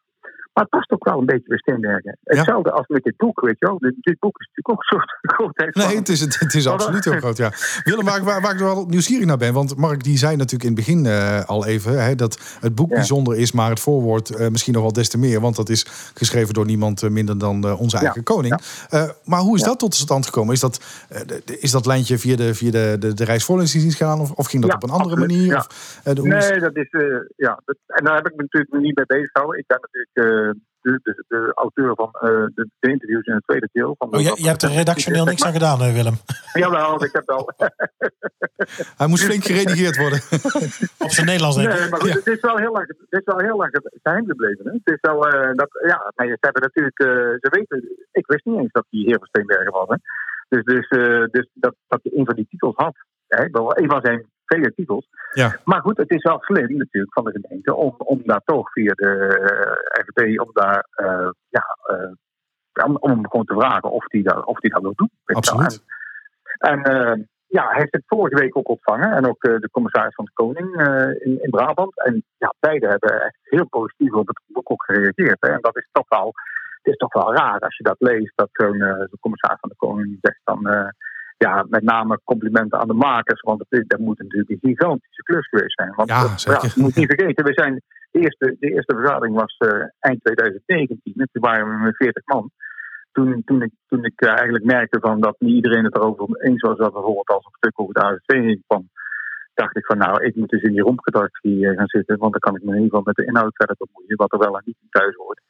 E: Maar het past ook wel een beetje bij Steenbergen. Hetzelfde als met dit boek, weet je wel. Dit, dit boek is natuurlijk ook een soort grootheid.
C: Nee, het is, het, het is absoluut heel groot, ja. Willem, waar, ik- waar, waar ik wel nieuwsgierig naar ben... want Mark, die zei natuurlijk in het begin eh, al even... Hè, dat het boek
E: Ja.
C: bijzonder is, maar het voorwoord eh, misschien nog wel des te meer... want dat is geschreven door niemand eh, minder dan eh, onze eigen koning. Eh, maar hoe is dat tot stand gekomen? Is dat, eh, de- de- is dat lijntje via de, via de, de, de Rijksvoorlichtingsdienst gegaan... Of, of ging dat
E: Ja,
C: op een andere
E: absoluut,
C: manier?
E: ja.
C: Of, eh, de- hoe is-
E: Nee, dat is. eh, ja. dat- en daar heb ik me natuurlijk niet mee bezig gehouden. Ik ben natuurlijk eh, de, de, de auteur van eh, de, de interviews in het tweede deel. Van de-
B: Oh, je, je hebt er redactioneel niks aan gedaan, hè, Willem.
E: Jawel, ik heb wel.
C: Hij moest flink geredigeerd worden.
B: Op zijn Nederlands, denk ik.
E: Nee, maar goed,
B: Ja.
E: het, is wel heel lang, het is wel heel lang geheim gebleven. Hè? Het is wel, eh, dat, ja, maar ze hebben natuurlijk, eh, ze weten, ik wist niet eens dat die heer van Steenbergen was. Hè? Dus, dus, eh, dus dat, dat hij een van die titels had. Hè? Wel, een van zijn vele titels.
C: Ja.
E: Maar goed, het is wel slim natuurlijk van de gemeente om, om daar toch via de eh, RVP, om daar, eh, ja, eh, om, om hem gewoon te vragen of die dat, of die dat wil doen. Weet je wel.
C: Absoluut.
E: En eh, ja, hij heeft het vorige week ook ontvangen. En ook eh, de commissaris van de Koning eh, in, in Brabant. En ja, beide hebben echt heel positief op het boek ook gereageerd. Hè. En dat is toch wel, het is toch wel raar als je dat leest. Dat zo'n eh, zo'n commissaris van de Koning zegt dan... eh, ja, met name complimenten aan de makers. Want het, is- dat moet natuurlijk een gigantische klus geweest zijn. Want
C: Ja,
E: eh,
C: zeker.
E: je moet niet vergeten, we zijn, de, eerste, de eerste vergadering was eh, eind 2019. En toen waren we met 40 man toen, toen ik, toen ik eh, eigenlijk merkte van dat niet iedereen het erover eens was dat bijvoorbeeld als een stuk over de ASV heen kwam, dacht ik van nou, ik moet dus in die rompredactie eh, gaan zitten, want dan kan ik me in ieder geval met de inhoud verder bemoeien, wat er wel en niet in thuis hoort.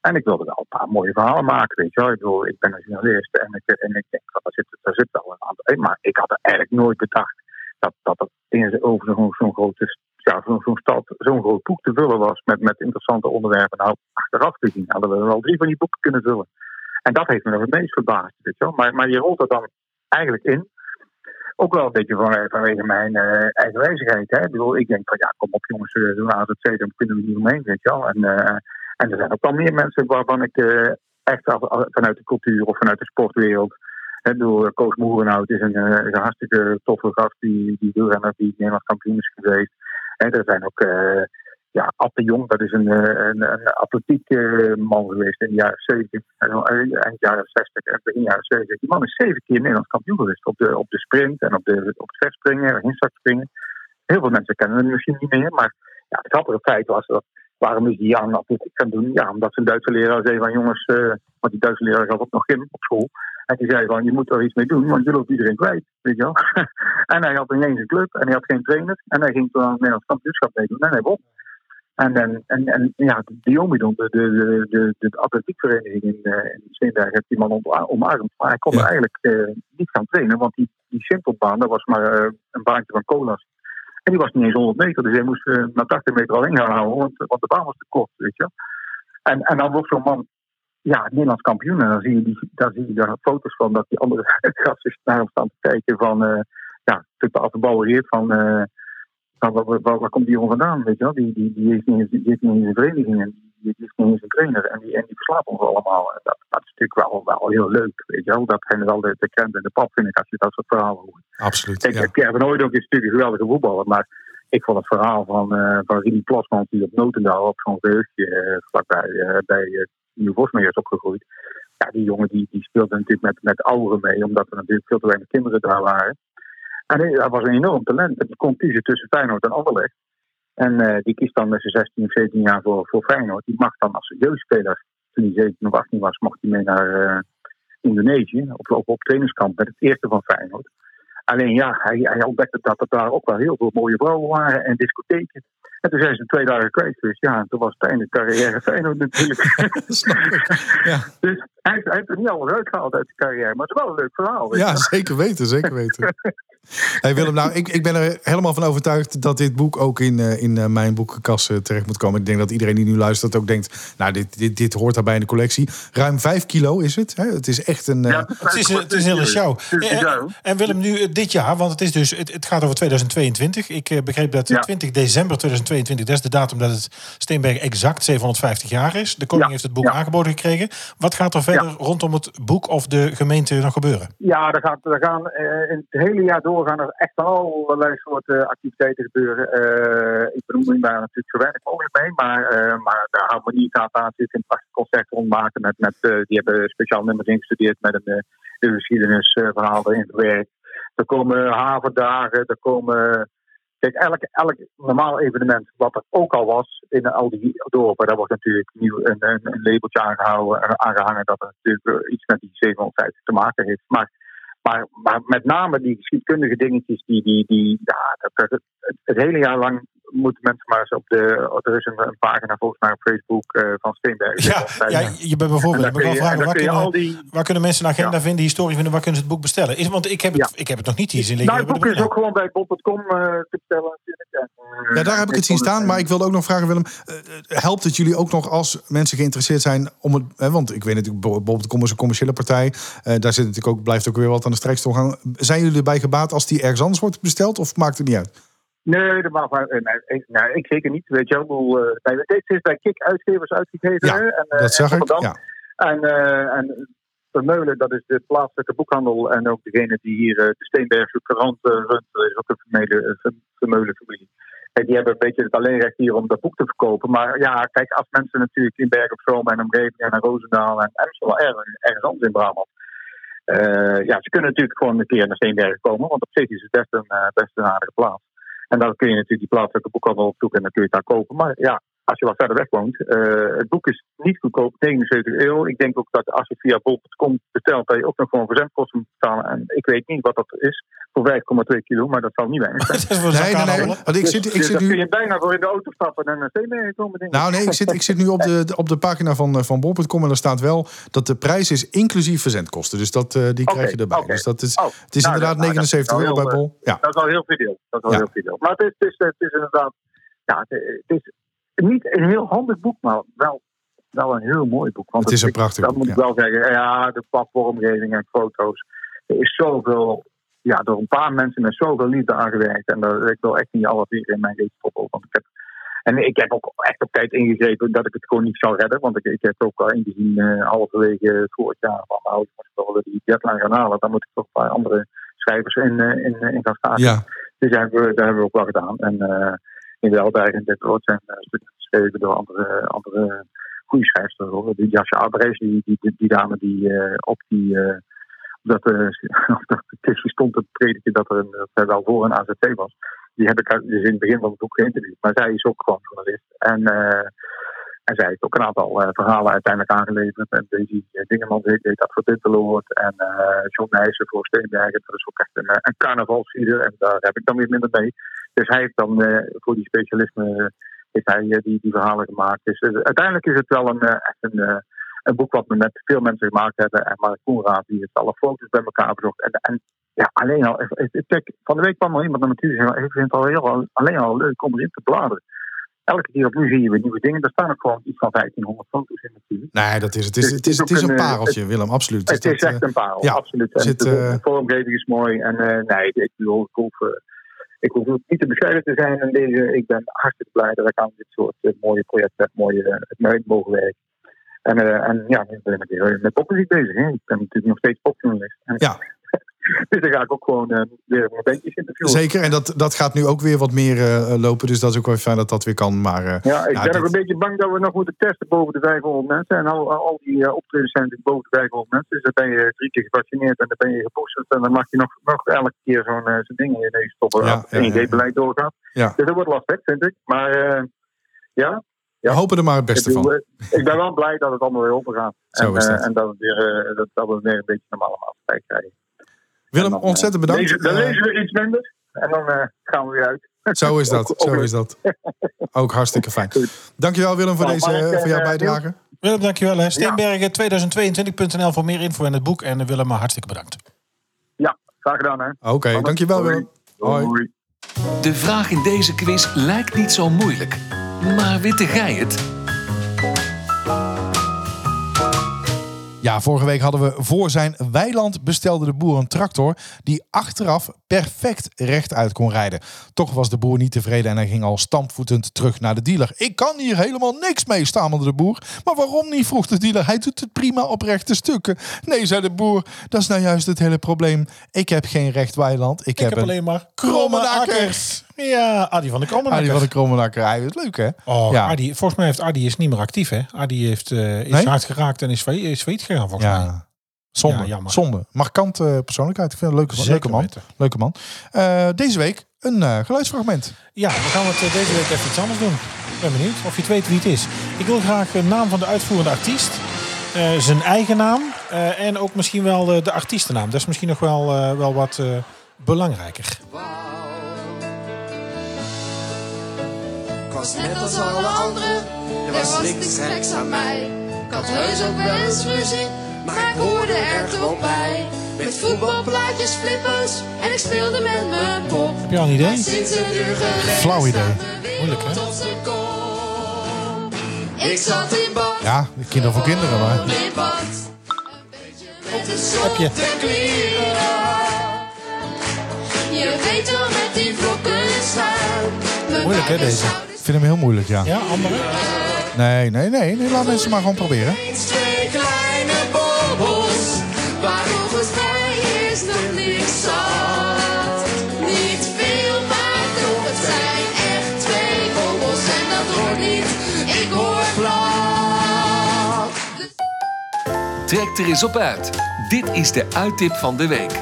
E: En ik wilde wel een paar mooie verhalen maken, weet je wel. Ik, bedoel, ik ben een journalist en ik, en ik denk, daar zit, daar zit wel een aantal in. Maar ik had er eigenlijk nooit bedacht dat dat het in- over zo'n zo'n grote ja, zo'n zo'n stad, zo'n groot boek te vullen was met, met interessante onderwerpen. Nou, achteraf gezien hadden we er wel drie van die boeken kunnen vullen. En dat heeft me nog het meest verbaasd. Weet je wel. Maar, maar je rolt dat dan eigenlijk in. Ook wel een beetje van, vanwege mijn eh eigenwijzigheid. Hè? Ik, bedoel, ik denk van ja, kom op jongens, eh, zo'n AZC, dan kunnen we niet omheen. Weet je wel. En, eh, en er zijn ook wel meer mensen waarvan ik eh, echt af- af- vanuit de cultuur of vanuit de sportwereld. hè, Ik bedoel, eh, Koos Moerenhout is een, eh, is een hartstikke toffe gast die, die wielrenner, die Nederlands kampioen is geweest. En er zijn ook eh, ja, Ad de Jong, dat is een, eh, een, een atletiek eh, man geweest in de jaren 70, eh, eind jaren 60 en begin jaren 70. Die man is zeven keer Nederlands kampioen geweest op de, op de sprint en op, de, op het verspringen, hinstakspringen. Heel veel mensen kennen hem misschien niet meer, maar ja, het grappige feit was dat waarom is die aan atletiek gaan doen? Ja, omdat zijn Duitse leraar zei van jongens, eh, want die Duitse leraar gaf ook nog gym op school. En die zei van, je moet er iets mee doen, want je loopt iedereen kwijt, weet je wel. en hij had ineens een club en hij had geen trainer. En hij ging toen aan het Nederlands kampioenschap meedoen en hij won. En, en, en, en ja, Diomidon, de, de, de, de, de atletiekvereniging in, eh in Steenberg, heeft die man ontwa- omarmd. Maar hij kon
C: Ja.
E: er eigenlijk eh, niet gaan trainen, want die, die simpelbaan, dat was maar eh, een baantje van Colas. En die was niet eens 100 meter, dus hij moest eh na 80 meter alleen gaan houden, want, want de baan was te kort, weet je. En, en dan wordt zo'n man, ja, Nederlands kampioen, en dan zie je, die, daar, zie je daar foto's van dat die andere gasten naar hem staan te kijken van, eh ja, natuurlijk de afgebouwereerd van... eh, Maar waar, waar, waar komt die jongen vandaan? Weet je wel? Die, die, die, heeft niet eens, die heeft niet eens een vereniging en die, die heeft niet eens een trainer. En die, en die verslaat ons allemaal. En dat, dat is natuurlijk wel, wel heel leuk. Weet je wel? Dat zijn wel de, de krent en de pap, vind ik, als je dat soort verhalen hoort.
C: Absoluut.
E: Kijk,
C: Ja.
E: Pierre van Hooydonk is natuurlijk een geweldige voetballer, maar ik vond het verhaal van, eh van Rini Plasman, die op Notendaal op zo'n geheugje eh, vlakbij eh, bij eh, Nieuw Vosmeer is opgegroeid. Ja, die jongen die, die speelde natuurlijk met, met ouderen mee, omdat er natuurlijk veel te weinig kinderen daar waren. En hij, hij was een enorm talent. En die kon kiezen tussen Feyenoord en Anderlecht. En eh, die kiest dan met zijn 16 of 17 jaar voor, voor Feyenoord. Die mag dan als jeugdspeler, toen hij 17 of 18 was, mocht hij mee naar eh, Indonesië. Op, op, op trainingskamp met het eerste van Feyenoord. Alleen ja, hij, hij ontdekte dat er daar ook wel heel veel mooie vrouwen waren en discotheken. En toen zijn ze twee dagen kwijt geweest. Ja, en toen was het einde carrière Feyenoord natuurlijk.
C: Snap ik. Ja.
E: dus hij, hij heeft er niet alles uitgehaald uit zijn carrière. Maar het is wel een leuk verhaal. weet je.
C: ja, zeker weten, zeker weten. Hey Willem, nou, ik, ik ben er helemaal van overtuigd dat dit boek ook in, eh, in eh, mijn boekenkast eh, terecht moet komen. Ik denk dat iedereen die nu luistert ook denkt, nou, dit, dit, dit hoort daarbij in de collectie. Ruim 5 kilo is het. Hè? Het is echt een... eh,
E: Ja,
B: Het is, het is heel een show.
E: Het is een
B: En,
E: show.
B: en Willem, nu eh, dit jaar, want het, is dus, het, het gaat over 2022. Ik eh, begreep dat eh,
E: Ja.
B: 20 december 2022, dat is de datum dat het Steenberg exact 750 jaar is. De koning
E: Ja,
B: heeft het boek
E: ja.
B: aangeboden gekregen. Wat gaat er verder rondom het boek of de gemeente nog gebeuren?
E: Ja, er, gaat, er gaan eh, in het hele jaar door gaan er echt van allerlei soorten eh, activiteiten gebeuren. Eh, ik benoem daar natuurlijk zo weinig mogelijk mee, maar, eh, maar de harmonie gaat daar natuurlijk een prachtig concert rond maken. Met, met, eh, die hebben speciaal nummers ingestudeerd met een eh, de eh, geschiedenisverhaal erin verwerkt. Er komen havendagen, er komen... Kijk, elk, elk normaal evenement wat er ook al was in al die dorpen, daar wordt natuurlijk nieuw een, een, een labeltje aangehouden, aangehangen dat het natuurlijk eh, iets met die 750 te maken heeft. Maar maar, maar met name die geschiedkundige dingetjes, die, die, die, ja, dat, dat- het, het hele jaar lang moeten mensen maar eens op de. Er is een, een pagina volgens mij op Facebook eh, van Steenberg.
B: Ja, ja je bent bijvoorbeeld. Ik ben wel
E: dan kun je, en
B: vragen,
E: dan
B: waar
E: kun je al
B: kunnen,
E: die.
B: waar kunnen mensen een agenda
E: Ja.
B: vinden, die historie vinden, waar kunnen ze het boek bestellen? Is, want ik heb het,
E: Ja.
B: ik heb het nog niet hier zien liggen.
E: Nou, het boek
B: Hebben we
E: is
B: er-
E: ook gewoon bij bol.com eh, te bestellen natuurlijk. En, eh,
C: Ja, daar heb ik het zien staan. Maar ik wilde ook nog vragen, Willem. eh, eh, Helpt het jullie ook nog als mensen geïnteresseerd zijn om het. Hè, want ik weet natuurlijk, Bo- Bol.com is een commerciële partij. Eh, daar zit natuurlijk ook, blijft ook weer wat aan de strijkstok gaan. Zijn jullie erbij gebaat als die ergens anders wordt besteld? Of maakt het niet uit?
E: Nee, dat mag maar, eh, nee, ik- nou, ik zeker niet. Weet je wel, Ik bedoel, eh, bij- dit is bij Kik uitgevers uitgegeven.
C: Ja,
E: hè, en, eh,
C: Dat
E: en
C: zag ik.
E: Rotterdam.
C: Ja.
E: En, eh en Vermeulen, dat is de plaatselijke boekhandel. En ook degene die hier eh, de Steenbergse krant eh, runt, eh, is ook een Vermeulen, eh, Ver- Vermeulen-familie. Kijk, die hebben een beetje het alleenrecht hier om dat boek te verkopen. Maar ja, kijk, als mensen natuurlijk in Berg op Zoom en omgeving en naar Roosendaal en Amsterdam, ergens, ergens anders in Brabant. eh, ja, ze kunnen natuurlijk gewoon een keer naar Steenbergen komen, want op zich is het best een, eh, best een aardige plaats. En dan kun je natuurlijk die plaatselijke boekhandel opzoeken en dan kun je het daar kopen. Maar ja, als je wat verder weg woont. eh, het boek is niet goedkoop, 79 euro. Ik denk ook dat als je via bol.com bestelt, dat je ook nog gewoon verzendkosten moet betalen. En ik weet niet wat dat is voor 5,2 kilo, maar dat zal niet weinig zijn.
B: Het is voor een
C: Nee,
B: zak
C: nee, nee.
B: aardappelen.
C: Want ik
E: Dus-
C: zit, ik
E: dus
C: zit
E: daar kun
C: nu.
E: je bijna voor in de auto stappen en een steen meegekomen. Denk ik.
C: Nou nee, ik zit, ik zit nu op de, de- op de pagina van, eh, van Bol.com. En daar staat wel dat de prijs is inclusief verzendkosten. Dus dat, eh, die
E: Oké,
C: krijg je erbij.
E: oké.
C: Dus dat is,
E: Oh,
C: het is
E: nou,
C: inderdaad
E: dat- nou, dat is
C: 79
E: wel
C: euro bij
E: heel,
C: Bol. Ja.
E: Dat is al heel veel deel. Dat is al
C: Ja.
E: heel veel deel. Maar het is, het is, het is inderdaad. Ja, het, het is niet een heel handig boek, maar wel, wel een heel mooi boek. Want
C: Het is een prachtig
E: Dat
C: boek.
E: moet
C: ja.
E: ik wel zeggen. Ja, de platformgeving en foto's. Er is zoveel. Ja, door een paar mensen met zoveel liefde aangewerkt. En dat, ik wil echt niet alles weer in mijn reet stoppen. Want ik heb, en ik heb ook echt op tijd ingegrepen dat ik het gewoon niet zou redden. Want ik, ik heb ook al ingezien eh, halverwege het vorig jaar. Van, nou, ik moet wel die deadline gaan halen. Dan moet ik toch bij andere schrijvers in, eh, in, eh, in gaan staan.
C: Ja.
E: Dus daar hebben, we, daar hebben we ook wel gedaan. En eh in de Alberg en Detroit zijn eh, stukken geschreven door andere, andere goede schrijfsters. Hoor. Die Jasje Abrees, die, die, die, die dame die eh, op die... eh, op dat, eh, op dat kistje stond te prediken dat er een, dat zij wel voor een AZT was. Die heb ik uit- dus in het begin van het boek geïnterviewd. Maar zij is ook gewoon journalist. En, eh, en zij heeft ook een aantal eh, verhalen uiteindelijk aangeleverd. En Daisy eh, Dingeman deed deed dat voor Ditteloord. En eh, John Nijssen voor Steenbergen. Dat is ook echt een, eh, een carnavalslieder. En daar heb ik dan weer minder mee. Dus hij heeft dan eh, voor die specialisme eh, heeft hij, eh, die, die verhalen gemaakt. Dus eh, uiteindelijk is het wel een, eh, echt een, eh, een boek wat we met veel mensen gemaakt hebben. En Mark Koenraad die heeft alle foto's bij elkaar bezocht. En, en ja, alleen al, ik- ik- kijk, van de week kwam er iemand naar me toe en zei, ik vind het al heel, alleen al leuk om erin te bladeren. Elke keer opnieuw zie je weer nieuwe dingen. Er staan ook gewoon iets van 1500 foto's in natuurlijk.
C: Nee, dat is het. Het is,
E: Dus
C: het is,
E: het
C: het is
E: is ook
C: een
E: een, eh,
C: pareltje, Willem, absoluut. Dus
E: Het is
C: dat,
E: echt
C: eh,
E: een parel,
C: ja,
E: absoluut. En
C: zit,
E: de
C: eh,
E: vormgeving is mooi. En eh, nee, ik bedoel, ik hoef, eh, ik hoef niet te bescheiden te zijn in deze. Ik ben hartstikke blij dat ik aan dit soort eh, mooie projecten mooie, eh, het mee mogen werken. En, eh, en ja, nu ben ik weer met popmuziek bezig. Hè. Ik ben natuurlijk nog steeds popjournalist. En-
C: Ja.
E: dus dan ga ik ook gewoon eh, weer mijn bandjes interviewen.
C: Zeker, en dat, dat gaat nu ook weer wat meer eh, lopen. Dus dat is ook wel fijn dat dat weer kan. Maar eh,
E: Ja, ik
C: Ja,
E: ben
C: dit-
E: ook een beetje bang dat we nog moeten testen boven de 500 mensen. En al, al die eh, optredens zijn natuurlijk boven de 500 mensen. Dus dan ben je drie keer gevaccineerd en dan ben je geboosterd. En dan mag je nog, nog elke keer zo'n eh, zo'n ding in je neus stoppen.
C: Ja,
E: als
C: ja,
E: het 1
C: ja, ja.
E: beleid doorgaat.
C: Ja.
E: Dus dat wordt lastig, vind ik. Maar eh, ja,
C: we hopen er maar het
E: ik,
C: beste
E: bedoel,
C: van.
E: eh, ik ben wel blij dat het allemaal weer open gaat.
C: Zo
E: en,
C: is dat.
E: eh, en dat, we weer, eh, dat, dat we weer een beetje normale maatschappij krijgen. En
C: Willem,
E: dan, eh,
C: ontzettend bedankt.
E: lezen- dan
C: Eh,
E: lezen we iets minder en dan eh, gaan we weer uit.
C: Zo is dat,
E: Ook- ook
C: zo
E: leuk.
C: is dat. Ook hartstikke fijn.
E: Goed.
C: Dankjewel Willem voor,
E: Nou,
C: deze,
E: Mark en,
C: voor jouw
E: eh,
C: bijdrage.
B: Willem, dankjewel. hè. Steenbergen2022.nl voor meer info en het boek. En eh, Willem, hartelijk bedankt.
E: Ja, graag gedaan hè.
C: Oké, dankjewel Willem. Hoi.
E: Hoi.
A: De vraag in deze quiz lijkt niet zo moeilijk. Maar witte gij het?
C: Ja, vorige week hadden we voor zijn weiland bestelde de boer een tractor die achteraf perfect rechtuit kon rijden. Toch was de boer niet tevreden en hij ging al stampvoetend terug naar de dealer. Ik kan hier helemaal niks mee, stamelde de boer. Maar waarom niet, vroeg de dealer. Hij doet het prima op rechte stukken. Nee, zei de boer, dat is nou juist het hele probleem. Ik heb geen recht weiland, ik,
B: Ik
C: heb,
B: heb
C: een...
B: alleen maar
C: kromme
B: Krommenakkers. Ja, Adi van de
C: Adi van de
B: Krommenakkers.
C: Krommenakker, hij is leuk hè?
B: Oh,
C: Ja.
B: Adi, volgens mij heeft Adi is niet meer actief, hè? Adi heeft, eh, is
C: Nee?
B: hard geraakt en is, failliet- is failliet gegaan, volgens mij.
C: Ja. Zonde,
B: Ja, jammer.
C: zonde. Markante persoonlijkheid. Ik vind het een leuke,
B: Zeker
C: leuke man.
B: weten.
C: Leuke man. Eh, deze week een eh, geluidsfragment.
B: Ja, we gaan het eh, deze week even iets anders doen. Ik ben benieuwd of je het weet wie het is. Ik wil graag de naam van de uitvoerende artiest. eh, zijn eigen naam. eh, en ook misschien wel eh, de artiestennaam. Dat is misschien nog wel, eh, wel wat eh, belangrijker.
F: Ik was net als alle anderen, er was niks geks aan mij. Ik had heus ook wel eens ruzie, maar ik hoorde er toch bij. Met voetbalplaatjes, flippers en ik speelde met mijn pop.
B: Heb je al een idee?
F: Maar sinds een uur geleden
C: Flauw
F: staat
C: idee.
F: de wereld
B: Moeilijk, hè?
F: op zijn kop. Ik zat in bad.
C: Ja, kinderen voor kinderen, maar-
F: Gewoon in bad. Een beetje met de
B: Heb je?
F: zotte kleren. Je weet wel met die vlokken staan. Mijn
B: Moeilijk, hè,
F: beide
B: deze?
F: schouders
C: Ik vind hem heel moeilijk, ja.
B: Ja, andere?
C: Nee, nee, nee, nee. Laat mensen maar gewoon proberen.
F: Eens twee kleine bobbels, waar volgens mij is nog niks zat. Niet veel, maar toch, het zijn echt twee bobbels en dat hoort niet, ik hoor plat.
A: Trek er eens op uit. Dit is de uittip van de week.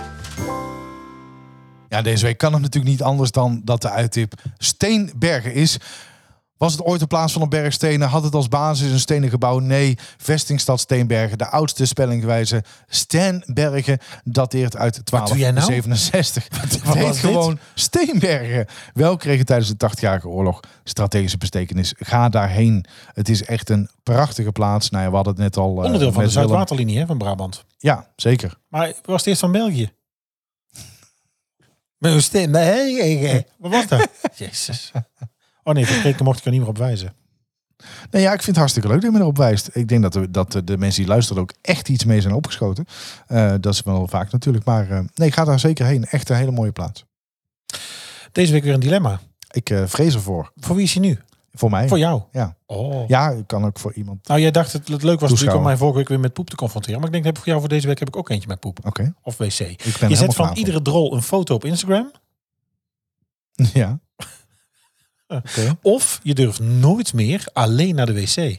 C: Ja, deze week kan het natuurlijk niet anders dan dat de uittip Steenbergen is. Was het ooit een plaats van een berg stenen? Had het als basis een stenen gebouw? Nee, vestingstad Steenbergen, de oudste spellingwijze Steenbergen, dateert uit
B: doe jij nou?
C: 1267. Het heet
B: was dit?
C: gewoon Steenbergen. Wel kregen tijdens de 80-jarige oorlog strategische betekenis. Ga daarheen. Het is echt een prachtige plaats. Nou ja, we hadden het net al. eh,
B: Onderdeel van de
C: met Willem.
B: Zuidwaterlinie hè, van Brabant.
C: Ja, zeker.
B: Maar was het eerst van België? Met een stem. Nee, Wat was dat? Jezus. Oh nee, vergeten mocht ik er niet meer op wijzen.
C: Nee, ja, ik vind het hartstikke leuk dat je me erop wijst. Ik denk dat de, dat de mensen die luisteren ook echt iets mee zijn opgeschoten. Eh, dat is wel vaak natuurlijk. Maar eh, nee, ga daar zeker heen. Echt een hele mooie plaats.
B: Deze week weer een dilemma.
C: Ik eh, vrees ervoor.
B: Voor wie is hij nu?
C: Voor mij.
B: Voor jou?
C: Ja.
B: Oh.
C: Ja, ik kan ook voor iemand.
B: Nou, jij dacht het, het leuk was natuurlijk om
C: Toeschouwer.
B: mij vorige week weer met poep te confronteren. Maar ik denk, heb ik voor jou voor deze week heb ik ook eentje met poep.
C: Oké.
B: Of wc.
C: Ik ben
B: Je
C: helemaal
B: zet van
C: klaar
B: iedere drol een foto op Instagram.
C: voor. Ja.
B: Of je durft nooit meer alleen naar de wc.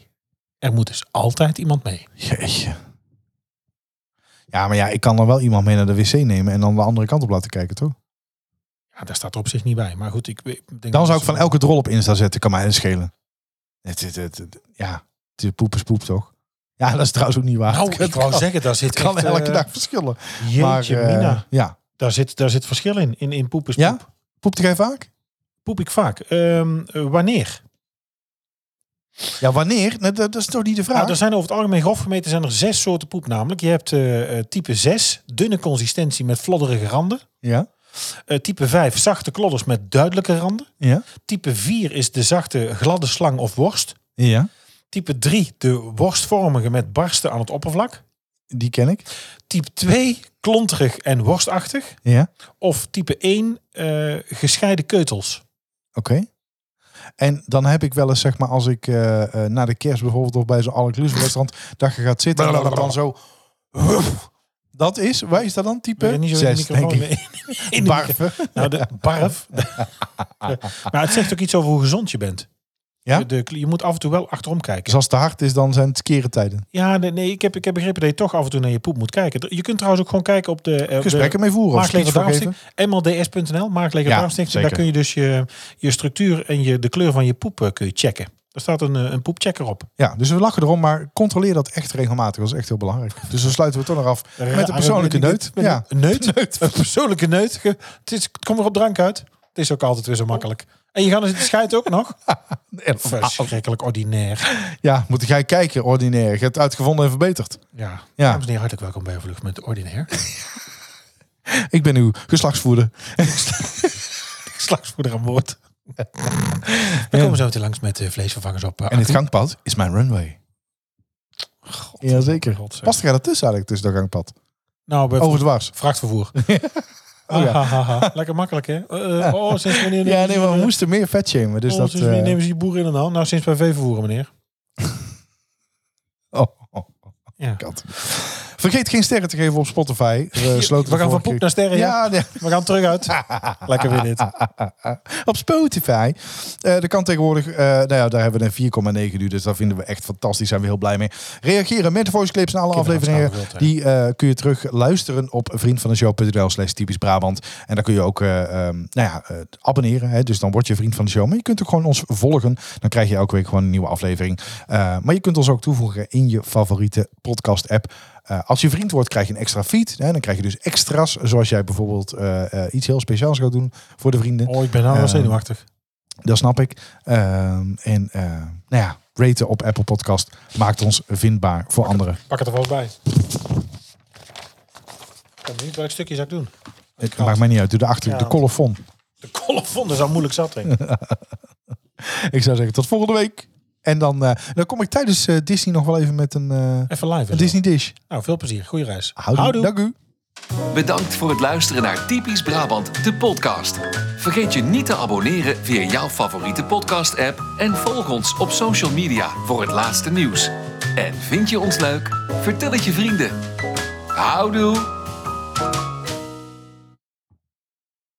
B: Er moet dus altijd iemand mee.
C: Jeetje. Ja, maar ja, ik kan dan wel iemand mee naar de wc nemen en dan de andere kant op laten kijken, toch?
B: Ja, daar staat er op zich niet bij. Maar goed, ik weet- ik denk...
C: Dan
B: dat
C: zou ik
B: ze-
C: van elke drol op Insta zetten, kan mij schelen. Het, het, het, het- ja, het is poep is poep, toch? Ja, dat is trouwens ook niet waar.
B: Nou,
C: Het kan-
B: ik wou zeggen, daar zit
C: het kan
B: echt,
C: elke
B: eh,
C: dag verschillen.
B: Jeetje,
C: eh,
B: mina.
C: ja.
B: Daar zit, daar zit verschil in. In, in poep is poep.
C: Ja? Poept jij vaak?
B: Poep ik vaak. Ehm, eh, wanneer?
C: Ja, wanneer? Nee, dat, dat is toch niet de vraag?
B: Nou, er zijn over het algemeen grof gemeten zijn er zes soorten poep namelijk. Je hebt eh, eh, type 6, dunne consistentie met flodderige randen.
C: Ja.
B: Eh, type 5, zachte klodders met duidelijke randen.
C: Ja.
B: Type 4 is de zachte gladde slang of worst.
C: Ja.
B: Type 3 de worstvormige met barsten aan het oppervlak.
C: Die ken ik.
B: Type 2 klonterig en worstachtig.
C: Ja, oké.
B: Of type 1, eh, gescheiden keutels.
C: En dan heb ik wel eens, zeg maar, als ik eh, eh, na de kerst bijvoorbeeld of bij zo'n all-inclusive restaurant, dat je gaat zitten en dat het dan zo... Dat is, waar is dat dan? Type
B: Wil je niet zo in de
C: zes, denk
B: microfoon
C: ik.
B: mee- in de micro-
C: Barven.
B: Nou, de barf. maar het zegt ook iets over hoe gezond je bent.
C: Ja?
B: Je- De, je moet af en toe wel achterom kijken.
C: Dus als het te hard is, dan zijn het skere tijden.
B: Ja, nee, nee, ik, heb, ik heb begrepen dat je toch af en toe naar je poep moet kijken. Je kunt trouwens ook gewoon kijken op de... eh, op
C: Gesprekken
B: de,
C: mee voeren. Of speech
B: Maagleverdarmstichting.
C: voor
B: mlds.nl,
C: Ja,
B: maagleverdarmstichting. daar
C: zeker.
B: kun je dus je, je structuur en je, de kleur van je poep eh, kun je checken. Daar staat een, eh, een poepchecker op.
C: geven. Ja, dus we lachen erom, maar controleer dat echt regelmatig. Dat is echt heel belangrijk. Dus dan sluiten we toch nog af met een persoonlijke neut.
B: Met
C: Ja.
B: een neut? Een persoonlijke neut. Ge- Het, is, het komt er op drank uit. Het is ook altijd weer zo makkelijk. En je gaat er zitten scheiden ook nog. Verschrikkelijk ordinair.
C: Ja, moet jij kijken, ordinair. Je hebt het uitgevonden en verbeterd.
B: Ja.
C: Ja.
B: Dames en heren, hartelijk welkom bij Overlucht met Ordinair.
C: Ik ben uw geslachtsvoerder.
B: Slagsvoerder aan boord. We komen zo meteen langs met eh, vleesvervangers op. eh,
C: En het
B: accu.
C: gangpad is mijn runway. Jazeker.
B: God, zeg.
C: Past er dat tussen eigenlijk, tussen dat gangpad?
B: Nou, bij
C: Over dwars.
B: vrachtvervoer.
C: Oh, ja.
B: Ah, ha, ha, ha. Lekker makkelijk, hè? Eh, eh, Oh, sinds wanneer
C: Ja,
B: nemen
C: nee,
B: ze-
C: maar we moesten meer vet shamen. Dus
B: oh,
C: dat...
B: sinds wanneer
C: eh,
B: nemen ze die boeren in de hand? Nou, sinds bij veevervoeren, meneer.
C: oh, oh, oh,
B: Ja.
C: kat. Vergeet geen sterren te geven op Spotify. We, sloten
B: We gaan van
C: de vorige keer-
B: poep naar sterren, ja?
C: Ja, nee.
B: We gaan terug uit. Lekker weer dit.
C: op Spotify. Eh dat kan tegenwoordig, eh, nou ja, daar hebben we een 4,9 nu, dus dat vinden we echt fantastisch. Zijn we heel blij mee. Reageren met de voice clips en alle afleveringen.
B: staan we wild, hè.
C: Die eh, kun je terug luisteren op vriendvandeshow.nl slash typisch Brabant. En daar kun je ook, eh, ehm, nou ja, eh, abonneren. Hè? Dus dan word je vriend van de show. Maar je kunt ook gewoon ons volgen. Dan krijg je elke week gewoon een nieuwe aflevering. Eh, maar je kunt ons ook toevoegen in je favoriete podcast app. Eh, als je vriend wordt, krijg je een extra feed. Hè? Dan krijg je dus extra's, zoals jij bijvoorbeeld eh, eh, iets heel speciaals gaat doen voor de vrienden.
B: Oh, ik ben nou wel zenuwachtig.
C: Dat snap ik. Ehm, en eh, nou ja, raten op Apple Podcast maakt ons vindbaar voor anderen.
B: Pak het er vast bij. Ik ben benieuwd welk stukje zou ik doen.
C: Het maakt mij niet uit. Doe de achter
B: Ja.
C: de colofon.
B: De kolfvonden zou moeilijk zat, hè?
C: Ik zou zeggen tot volgende week. En dan, eh, dan kom ik tijdens eh, Disney nog wel even met een, eh,
B: Even live.
C: een
B: en zo.
C: Disney dish.
B: Nou, veel plezier. Goeie reis.
C: Houdoe. Dank u.
A: Bedankt voor het luisteren naar Typisch Brabant, de podcast. Vergeet je niet te abonneren via jouw favoriete podcast-app en volg ons op social media voor het laatste nieuws. En vind je ons leuk? Vertel het je vrienden. Houdoe!